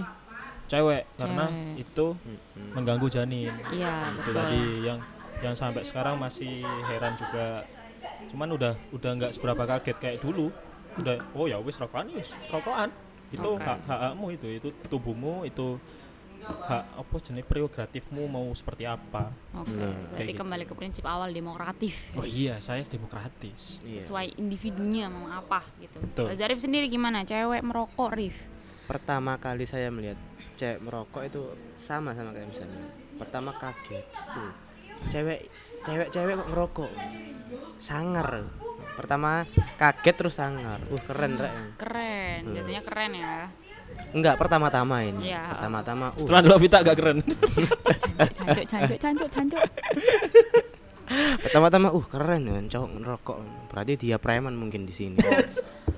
Speaker 3: cewek karena
Speaker 1: Cewek.
Speaker 3: itu mengganggu janin
Speaker 1: Iya,
Speaker 3: itu
Speaker 1: betul.
Speaker 3: tadi yang yang sampai sekarang masih heran juga cuman udah udah nggak seberapa kaget kayak dulu udah oh ya wis rokokan wis rokokan itu
Speaker 1: Oke.
Speaker 3: hak hakmu itu itu tubuhmu itu hak apa jenis prerogatifmu mau seperti apa
Speaker 1: Oke,
Speaker 2: Nah,
Speaker 1: berarti
Speaker 3: gitu.
Speaker 1: kembali ke prinsip awal demokratif.
Speaker 3: oh iya saya demokratis
Speaker 2: Iya.
Speaker 1: Sesuai individunya mau apa gitu.
Speaker 3: Betul.
Speaker 1: Kalau Zarif sendiri gimana? Cewek merokok, Rif.
Speaker 2: Pertama kali saya melihat cewek merokok itu sama sama kayak misalnya. Pertama kaget. Uh, Cewek cewek-cewek kok ngerokok. Sangar. Pertama kaget terus sangar. Uh keren rek.
Speaker 1: Keren,
Speaker 2: Hmm.
Speaker 1: jatuhnya keren ya.
Speaker 2: Enggak pertama-tama ini.
Speaker 1: Iya.
Speaker 2: Pertama-tama. uh,
Speaker 3: setelah dulu Vita agak keren Iya,
Speaker 1: Cancuk, cancuk, cancuk, cancuk.
Speaker 2: pertama-tama uh keren ya cowok ngerokok. Berarti dia preman mungkin di sini.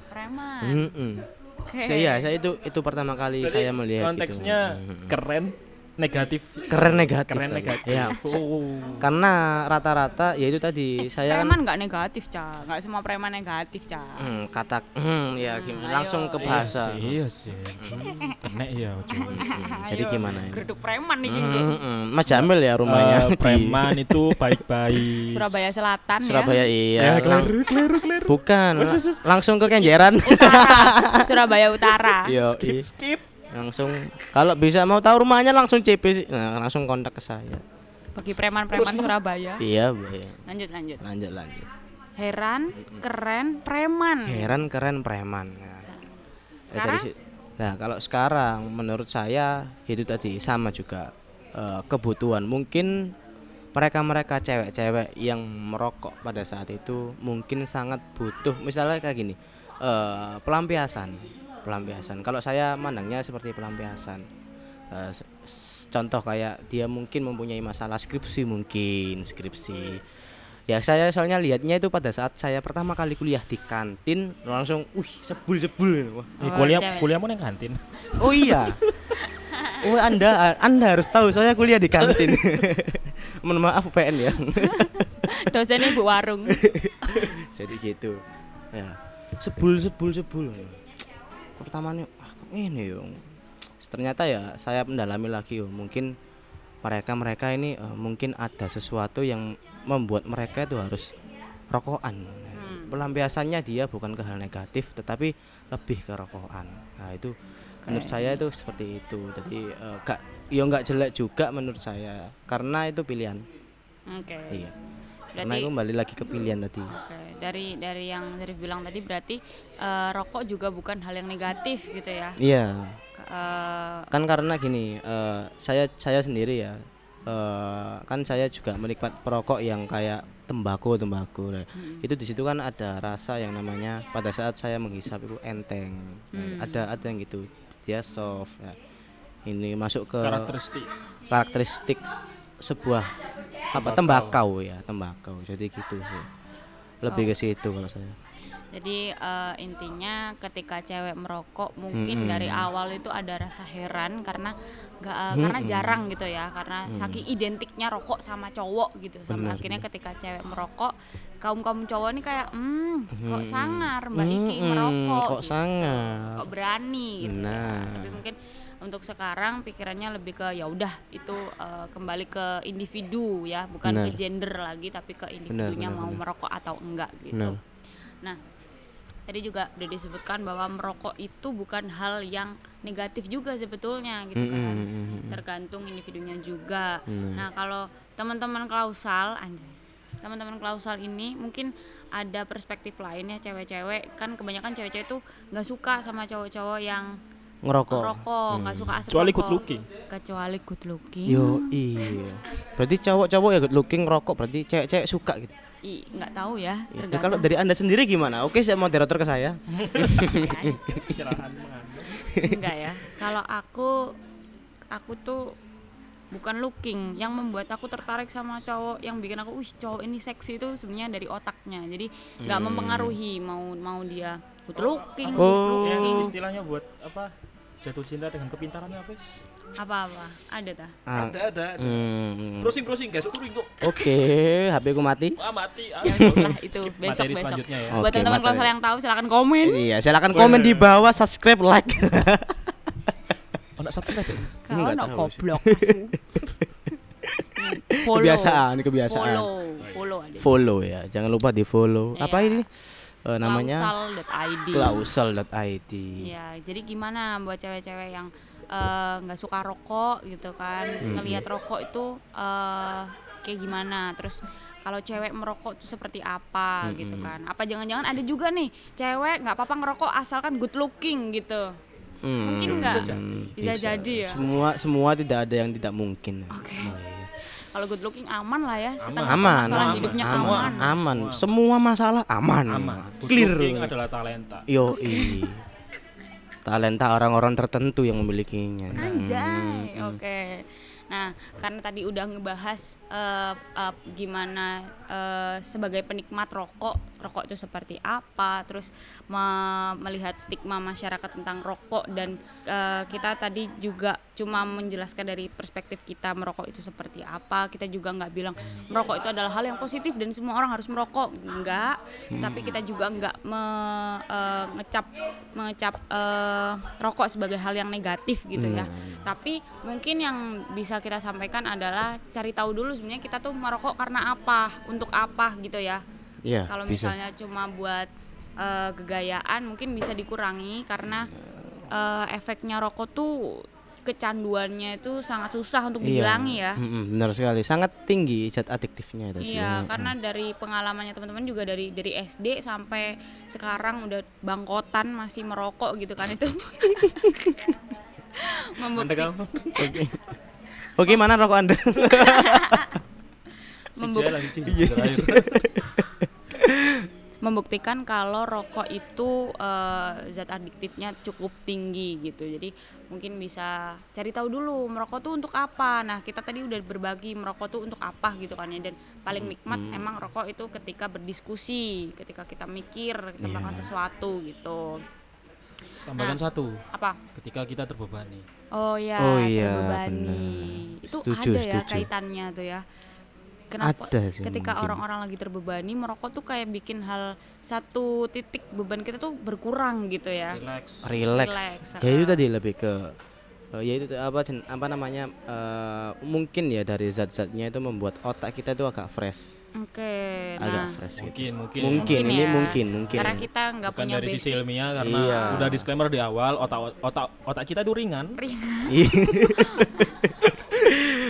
Speaker 1: Preman.
Speaker 2: Mm-mm.
Speaker 1: Oke.
Speaker 2: Hmm. Saya iya, saya itu itu pertama kali saya melihat gitu.
Speaker 3: konteksnya
Speaker 2: Mm-mm.
Speaker 3: keren negatif
Speaker 2: keren negatif.
Speaker 3: keren
Speaker 2: tadi.
Speaker 3: negatif
Speaker 2: Ya.
Speaker 3: Oh.
Speaker 2: Karena rata-rata ya itu tadi saya kan
Speaker 1: Preman nggak negatif, Ca. Nggak semua preman negatif, Ca.
Speaker 2: Hmm, kata hmm, ya gimana
Speaker 1: ayo.
Speaker 2: langsung ke bahasa.
Speaker 3: Iya sih, iya sih. Kena ya cuy.
Speaker 2: Hmm, jadi gimana ini?
Speaker 1: Geruduk preman nih.
Speaker 2: Hmm, hmm, Mas Jamil ya rumahnya
Speaker 3: Eh,
Speaker 2: di
Speaker 3: preman itu
Speaker 2: Hmm.
Speaker 3: baik-baik.
Speaker 1: Surabaya Selatan
Speaker 2: Surabaya iya.
Speaker 3: Ya,
Speaker 2: lang-
Speaker 3: keliru, keliru, keliru.
Speaker 2: bukan, lang- langsung ke Kenjeran.
Speaker 1: ya. Surabaya Utara.
Speaker 2: Yo, iya.
Speaker 3: Skip, skip.
Speaker 2: langsung kalau bisa mau tahu rumahnya langsung CP sih. nah, langsung kontak ke saya.
Speaker 1: Bagi preman-preman Surabaya.
Speaker 2: Iya, Bu, iya.
Speaker 1: Lanjut, lanjut.
Speaker 2: Lanjut lanjut.
Speaker 1: Heran, keren, preman.
Speaker 2: Heran keren preman. Nah, saya dari
Speaker 1: Sekarang?
Speaker 2: si- nah, kalau sekarang menurut saya itu tadi sama juga eh, kebutuhan. Mungkin mereka-mereka cewek-cewek yang merokok pada saat itu mungkin sangat butuh misalnya kayak gini. eh, pelampiasan. Pelampiasan. Kalau saya mandangnya seperti pelampiasan. Eh, s- s- contoh kayak dia mungkin mempunyai masalah skripsi mungkin, skripsi. Ya saya soalnya lihatnya itu pada saat saya pertama kali kuliah di kantin langsung wih sebul-sebul wah
Speaker 3: Eh,
Speaker 1: Oh,
Speaker 3: kuliah
Speaker 1: cewek.
Speaker 3: kuliahmu neng kantin.
Speaker 2: Oh iya. Oh Anda Anda harus tahu saya kuliah di kantin. Mohon maaf PN ya.
Speaker 1: Dosennya Bu Warung.
Speaker 2: Iya. Jadi gitu. Ya. Sebul sebul sebul. Kok Pertamanya ah, kok ini yo. Ternyata ya saya mendalami lagi yo mungkin mereka-mereka ini eh, mungkin ada sesuatu yang membuat mereka itu harus rokokan. Pelampiasannya dia bukan ke hal negatif tetapi lebih ke rokokan. Nah, itu menurut saya itu seperti itu jadi eh, gak ya nggak jelek juga menurut saya karena itu pilihan
Speaker 1: Oke.
Speaker 2: iya karena
Speaker 1: Berarti Hmm.
Speaker 2: itu kembali lagi ke pilihan tadi
Speaker 1: Oke, dari dari yang Zarif bilang tadi berarti eh, rokok juga bukan hal yang negatif gitu ya.
Speaker 2: iya
Speaker 1: Eh,
Speaker 2: kan karena gini eh, saya saya sendiri ya eh, kan saya juga menikmat perokok yang kayak tembakau tembakau lah.
Speaker 1: Hmm.
Speaker 2: itu di situ kan ada rasa yang namanya pada saat saya menghisap itu enteng Nah,
Speaker 1: Hmm.
Speaker 2: ada ada yang gitu dia soft ya. ini masuk ke
Speaker 3: Karakteristik.
Speaker 2: karakteristik sebuah apa tembakau ya tembakau jadi gitu sih lebih
Speaker 1: Oh.
Speaker 2: ke situ kalau saya
Speaker 1: jadi eh, intinya ketika cewek merokok mungkin
Speaker 2: Mm-mm.
Speaker 1: dari awal itu ada rasa heran karena nggak eh, karena jarang gitu ya karena saking identiknya rokok sama cowok gitu sampai
Speaker 2: Benar,
Speaker 1: akhirnya ketika cewek merokok kaum kaum cowok ini kayak hmm kok sangar mbak Iki
Speaker 2: Mm-mm,
Speaker 1: merokok
Speaker 2: kok
Speaker 1: gitu.
Speaker 2: sangat
Speaker 1: kok berani gitu ya.
Speaker 2: Nah.
Speaker 1: tapi mungkin untuk sekarang pikirannya lebih ke ya udah itu eh, kembali ke individu ya bukan ke
Speaker 2: Benar.
Speaker 1: gender lagi tapi ke individunya
Speaker 2: benar,
Speaker 1: mau
Speaker 2: benar.
Speaker 1: merokok atau enggak gitu
Speaker 2: Benar.
Speaker 1: nah tadi juga udah disebutkan bahwa merokok itu bukan hal yang negatif juga sebetulnya gitu
Speaker 2: Mm-mm,
Speaker 1: kan
Speaker 2: mm-mm, mm-mm.
Speaker 1: tergantung individunya juga
Speaker 2: Benar.
Speaker 1: nah kalau teman-teman klausal anjay teman-teman klausal ini mungkin ada perspektif lainnya cewek-cewek kan kebanyakan cewek-cewek tuh nggak suka sama cowok-cowok yang
Speaker 2: ngerokok
Speaker 1: rokok nggak suka asap
Speaker 3: Kecuali
Speaker 1: rokok.
Speaker 3: good looking.
Speaker 1: kecuali good looking
Speaker 2: yo iya berarti cowok-cowok ya good looking ngerokok berarti cewek-cewek suka gitu
Speaker 1: I, nggak tahu ya
Speaker 2: Ya,
Speaker 1: tergantung
Speaker 2: kalau dari anda sendiri gimana oke saya moderator ke saya
Speaker 3: Pencerahan mengandung.
Speaker 1: enggak ya kalau aku aku tuh bukan looking yang membuat aku tertarik sama cowok yang bikin aku wih cowok ini seksi itu sebenarnya dari otaknya jadi nggak
Speaker 3: Hmm.
Speaker 1: mempengaruhi mau mau dia good looking
Speaker 2: Oh.
Speaker 1: good
Speaker 3: Yang
Speaker 1: looking
Speaker 3: istilahnya buat apa? Jatuh cinta dengan kepintarannya apa sih?
Speaker 1: apa apa ada tah
Speaker 2: Ah,
Speaker 3: Ada ada. ada.
Speaker 2: hmm,
Speaker 3: Browsing browsing guys, kuring kok.
Speaker 2: oke HP ku mati
Speaker 3: Ah mati. Ah.
Speaker 1: ya wis lah itu
Speaker 3: Skip
Speaker 1: besok
Speaker 3: materi
Speaker 1: besok
Speaker 3: selanjutnya ya.
Speaker 1: buat
Speaker 2: Oke,
Speaker 1: teman-teman
Speaker 2: materi.
Speaker 1: kalau yang tahu silahkan komen
Speaker 2: iya silakan komen di bawah subscribe like
Speaker 3: Anak subscribe. ya?
Speaker 1: Kau
Speaker 2: Nggak
Speaker 1: nak
Speaker 2: Hmm. tahu sih.
Speaker 1: goblok asu. follow.
Speaker 2: kebiasaan kebiasaan
Speaker 1: Follow, follow adik.
Speaker 2: follow ya jangan lupa di follow
Speaker 1: Iya.
Speaker 2: apa ini Eh, namanya
Speaker 1: Klausal.id.
Speaker 2: klausal.id
Speaker 1: Ya, jadi gimana buat cewek-cewek yang eh, nggak suka rokok gitu kan,
Speaker 2: Hmm.
Speaker 1: ngelihat rokok itu eh, kayak gimana? Terus kalau cewek merokok itu seperti
Speaker 2: Hmm,
Speaker 1: apa gitu kan? Apa jangan-jangan ada juga nih cewek nggak apa-apa ngerokok asalkan good looking gitu?
Speaker 2: Hmm,
Speaker 1: Mungkin nggak?
Speaker 3: Bisa jadi.
Speaker 1: Bisa jadi ya.
Speaker 2: semua semua tidak ada yang tidak mungkin Nah, iya.
Speaker 1: Oke. Kalau good looking aman lah ya, setengah
Speaker 2: aman
Speaker 1: permasalahan
Speaker 2: aman
Speaker 1: hidupnya
Speaker 2: aman,
Speaker 1: aman.
Speaker 2: aman. semua masalah aman
Speaker 3: aman. Good
Speaker 2: clear
Speaker 3: looking adalah talenta.
Speaker 2: yo talenta orang-orang tertentu yang memilikinya Hmm.
Speaker 1: Anjay, oke. Nah, karena tadi udah ngebahas eh, eh, gimana eh, sebagai penikmat rokok, rokok itu seperti apa, terus me- melihat stigma masyarakat tentang rokok dan eh, kita tadi juga cuma menjelaskan dari perspektif kita merokok itu seperti apa. Kita juga nggak bilang merokok itu adalah hal yang positif dan semua orang harus merokok, enggak. Tapi kita juga nggak me- eh, ngecap mengecap eh, rokok sebagai hal yang negatif gitu ya. Tapi mungkin yang bisa kita sampaikan adalah cari tahu dulu sebenarnya kita tuh merokok karena apa, untuk apa gitu ya.
Speaker 2: Iya,
Speaker 1: Kalau
Speaker 2: bisa.
Speaker 1: misalnya cuma buat eh, kegayaan mungkin bisa dikurangi karena eh, efeknya rokok tuh kecanduannya itu sangat susah untuk dihilangi ya.
Speaker 2: Iya. Mm-mm, benar sekali sangat tinggi zat adiktifnya tadi
Speaker 1: Iya, karena dari pengalamannya teman-teman juga dari dari SD sampai sekarang udah bangkotan masih merokok gitu kan itu.
Speaker 3: Anda
Speaker 1: Membukti-
Speaker 3: kamu
Speaker 2: oke mana rokok anda
Speaker 3: si
Speaker 1: Membuk-
Speaker 3: jalan si jalan.
Speaker 1: membuktikan kalau rokok itu eh, zat adiktifnya cukup tinggi gitu. Jadi mungkin bisa cari tahu dulu merokok tuh untuk apa. Nah, kita tadi udah berbagi merokok tuh untuk apa gitu kan ya. Dan paling nikmat emang rokok itu ketika berdiskusi, ketika kita mikir, kita melakukan sesuatu gitu.
Speaker 3: Tambahkan satu.
Speaker 1: Apa?
Speaker 3: Ketika kita terbebani.
Speaker 1: Oh ya,
Speaker 2: Oh iya,
Speaker 1: terbebani.
Speaker 2: benar.
Speaker 1: Itu
Speaker 2: Setuju,
Speaker 1: ada ya
Speaker 2: setuju.
Speaker 1: kaitannya tuh ya. Kenapa
Speaker 2: Ada sih
Speaker 1: ketika
Speaker 2: mungkin.
Speaker 1: orang-orang lagi terbebani merokok tuh kayak bikin hal satu titik beban kita tuh berkurang gitu
Speaker 3: Ah.
Speaker 1: ya.
Speaker 3: Relax.
Speaker 2: relax.
Speaker 1: Relax,
Speaker 2: Ya itu
Speaker 1: heeh.
Speaker 2: tadi lebih ke eh, ya itu tuh apa jen- apa namanya eh, mungkin ya dari zat-zatnya itu membuat otak kita itu agak fresh,
Speaker 1: Oke.
Speaker 2: agak
Speaker 1: Nah, ya.
Speaker 2: fresh. gitu.
Speaker 3: Mungkin mungkin.
Speaker 2: Mungkin, ini mungkin mungkin.
Speaker 1: Karena kita nggak
Speaker 3: Bukan
Speaker 1: punya
Speaker 3: dari sisi
Speaker 1: basic
Speaker 3: ilmiah karena
Speaker 2: Iya.
Speaker 3: udah disclaimer di awal otak otak otak kita itu ringan.
Speaker 1: ringan.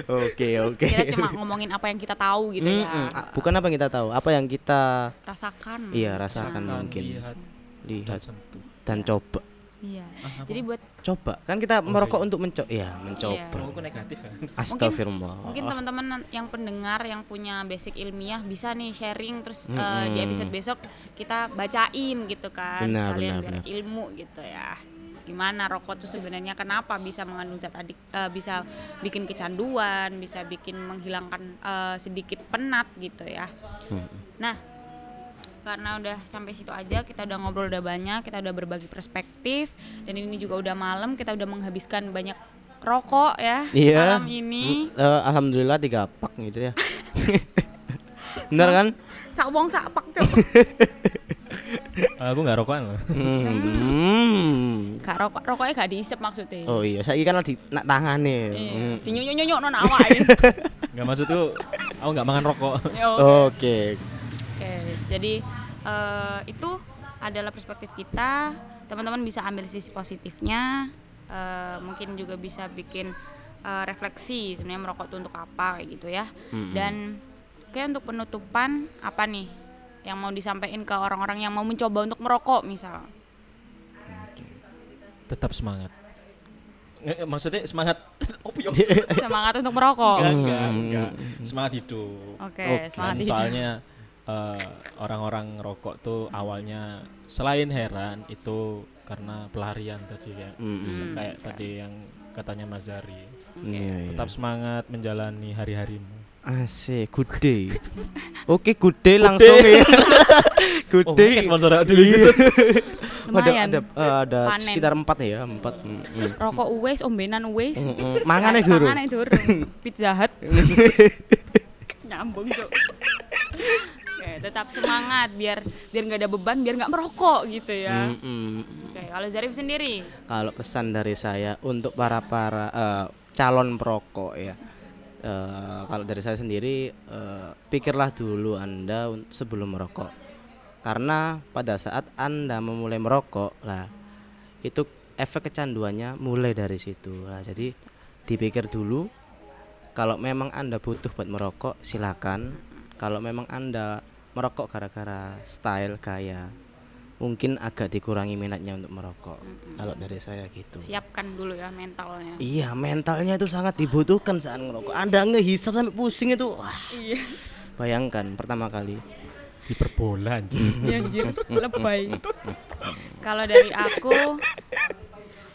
Speaker 2: Oke oke.
Speaker 1: Kita cuma ngomongin apa yang kita tahu gitu ya.
Speaker 2: Mm-mm. A- Bukan apa yang kita tahu, apa yang kita
Speaker 1: Hmm. Rasakan.
Speaker 2: iya rasakan
Speaker 3: Rasakan,
Speaker 2: mungkin
Speaker 3: Kan lihat dan
Speaker 2: lihat
Speaker 3: sentuh.
Speaker 2: dan coba.
Speaker 1: Iya.
Speaker 3: Ah, apa?
Speaker 1: Jadi buat
Speaker 2: Coba kan kita merokok untuk mencoba, ya
Speaker 3: Oh, aku
Speaker 2: mencoba.
Speaker 3: negatif ya.
Speaker 2: Astagfirullah.
Speaker 1: Mungkin teman-teman nan- yang pendengar yang punya basic ilmiah bisa nih sharing terus eh, di episode besok kita bacain gitu kan
Speaker 2: Benar,
Speaker 1: sekalian
Speaker 2: benar,
Speaker 1: biar
Speaker 2: benar.
Speaker 1: ilmu gitu ya. Gimana rokok tuh sebenarnya kenapa bisa mengandung zat adik eh, bisa bikin kecanduan, bisa bikin menghilangkan eh, sedikit penat gitu ya.
Speaker 2: Hmm.
Speaker 1: Nah, karena udah sampai situ aja kita udah ngobrol udah banyak kita udah berbagi perspektif dan ini juga udah malam kita udah menghabiskan banyak rokok ya
Speaker 2: Iya.
Speaker 1: malam ini
Speaker 2: Mm, eh, alhamdulillah tiga pak gitu ya. Benar kan?
Speaker 1: sak wong sak pak cok
Speaker 3: Ah, aku nggak rokokan loh.
Speaker 2: Hmm.
Speaker 1: gak rokok rokoknya gak diisep maksudnya
Speaker 2: Oh iya, saya kan lagi nak tangane.
Speaker 1: Iya.
Speaker 2: Mm.
Speaker 1: dinyonyok nyonyok non awak ya. ini.
Speaker 3: Nggak maksud tuh aku nggak makan rokok.
Speaker 1: Yo.
Speaker 2: Oke.
Speaker 1: Oke, jadi eh, itu adalah perspektif kita. Teman-teman bisa ambil sisi positifnya, eh, mungkin juga bisa bikin eh, refleksi sebenarnya merokok itu untuk apa kayak gitu ya. Dan oke untuk penutupan apa nih yang mau disampaikan ke orang-orang yang mau mencoba untuk merokok misal?
Speaker 3: Tetap semangat. Nggak, nggak, maksudnya semangat opi opi.
Speaker 1: Semangat untuk merokok.
Speaker 3: Enggak, enggak, enggak. Semangat hidup.
Speaker 1: Oke,
Speaker 2: Oke,
Speaker 1: semangat
Speaker 3: Dan
Speaker 1: hidup.
Speaker 3: soalnya eh, orang-orang rokok tuh awalnya selain heran itu karena pelarian tadi ya.
Speaker 1: Hmm.
Speaker 2: Mm-mm.
Speaker 3: Kayak tadi yang katanya Mazari.
Speaker 2: Iya, iya.
Speaker 3: Tetap semangat menjalani hari-harimu.
Speaker 2: Asik, good day. Oke, good day langsung ya. good
Speaker 3: Oh,
Speaker 2: day.
Speaker 3: kayak sponsor ada
Speaker 2: Iya. ada
Speaker 1: Lumayan.
Speaker 2: ada eh, ada
Speaker 1: Panen.
Speaker 2: sekitar empat ya, empat. Mm-mm.
Speaker 1: Rokok uwes, ombenan uwes.
Speaker 2: Mm-mm. Mangane guru.
Speaker 1: Mangane durung. Pizza Hut. Nyambung, Cuk. Oke, tetap semangat biar biar nggak ada beban, biar nggak merokok gitu
Speaker 2: Mm.
Speaker 1: ya. Oke, kalau Zarif sendiri,
Speaker 2: Kalau pesan dari saya untuk para para calon eh, perokok ya, Eh, kalau dari saya sendiri eh, pikirlah dulu anda un- sebelum merokok karena pada saat anda memulai merokok lah itu efek kecanduannya mulai dari situ lah jadi dipikir dulu kalau memang anda butuh buat merokok silakan kalau memang anda merokok gara-gara style gaya mungkin agak dikurangi minatnya untuk merokok kalau dari saya gitu
Speaker 1: siapkan dulu ya mentalnya
Speaker 2: Iya, mentalnya itu sangat dibutuhkan saat ngerokok. Anda ngehisap sampai pusing itu. Wah. Bayangkan pertama kali.
Speaker 3: hiperbola anjing.
Speaker 1: Ya,
Speaker 2: Iya,
Speaker 1: anjir, lebay. Kalau dari aku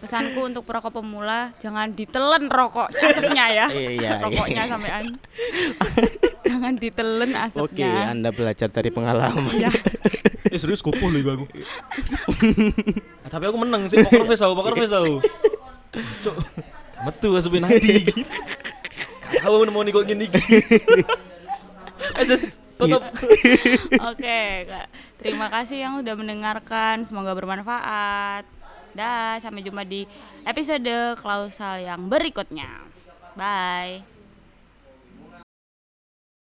Speaker 1: pesanku untuk perokok pemula jangan ditelen rokok asapnya ya.
Speaker 2: Iya, iya.
Speaker 1: Rokoknya sampean. jangan ditelen
Speaker 2: Oke,
Speaker 1: asapnya.
Speaker 2: Anda belajar dari pengalaman.
Speaker 1: Ya,
Speaker 3: eh serius kupuh loh ibu aku. Nah, tapi aku menang sih poker face aku, poker face aku. Cuk. Metu asupin nanti. Kau nemu nih kok gini. Eh, sis, tutup.
Speaker 1: Oke, Kak. Terima kasih yang udah mendengarkan. Semoga bermanfaat. Dah, sampai jumpa di episode klausal yang berikutnya. Bye.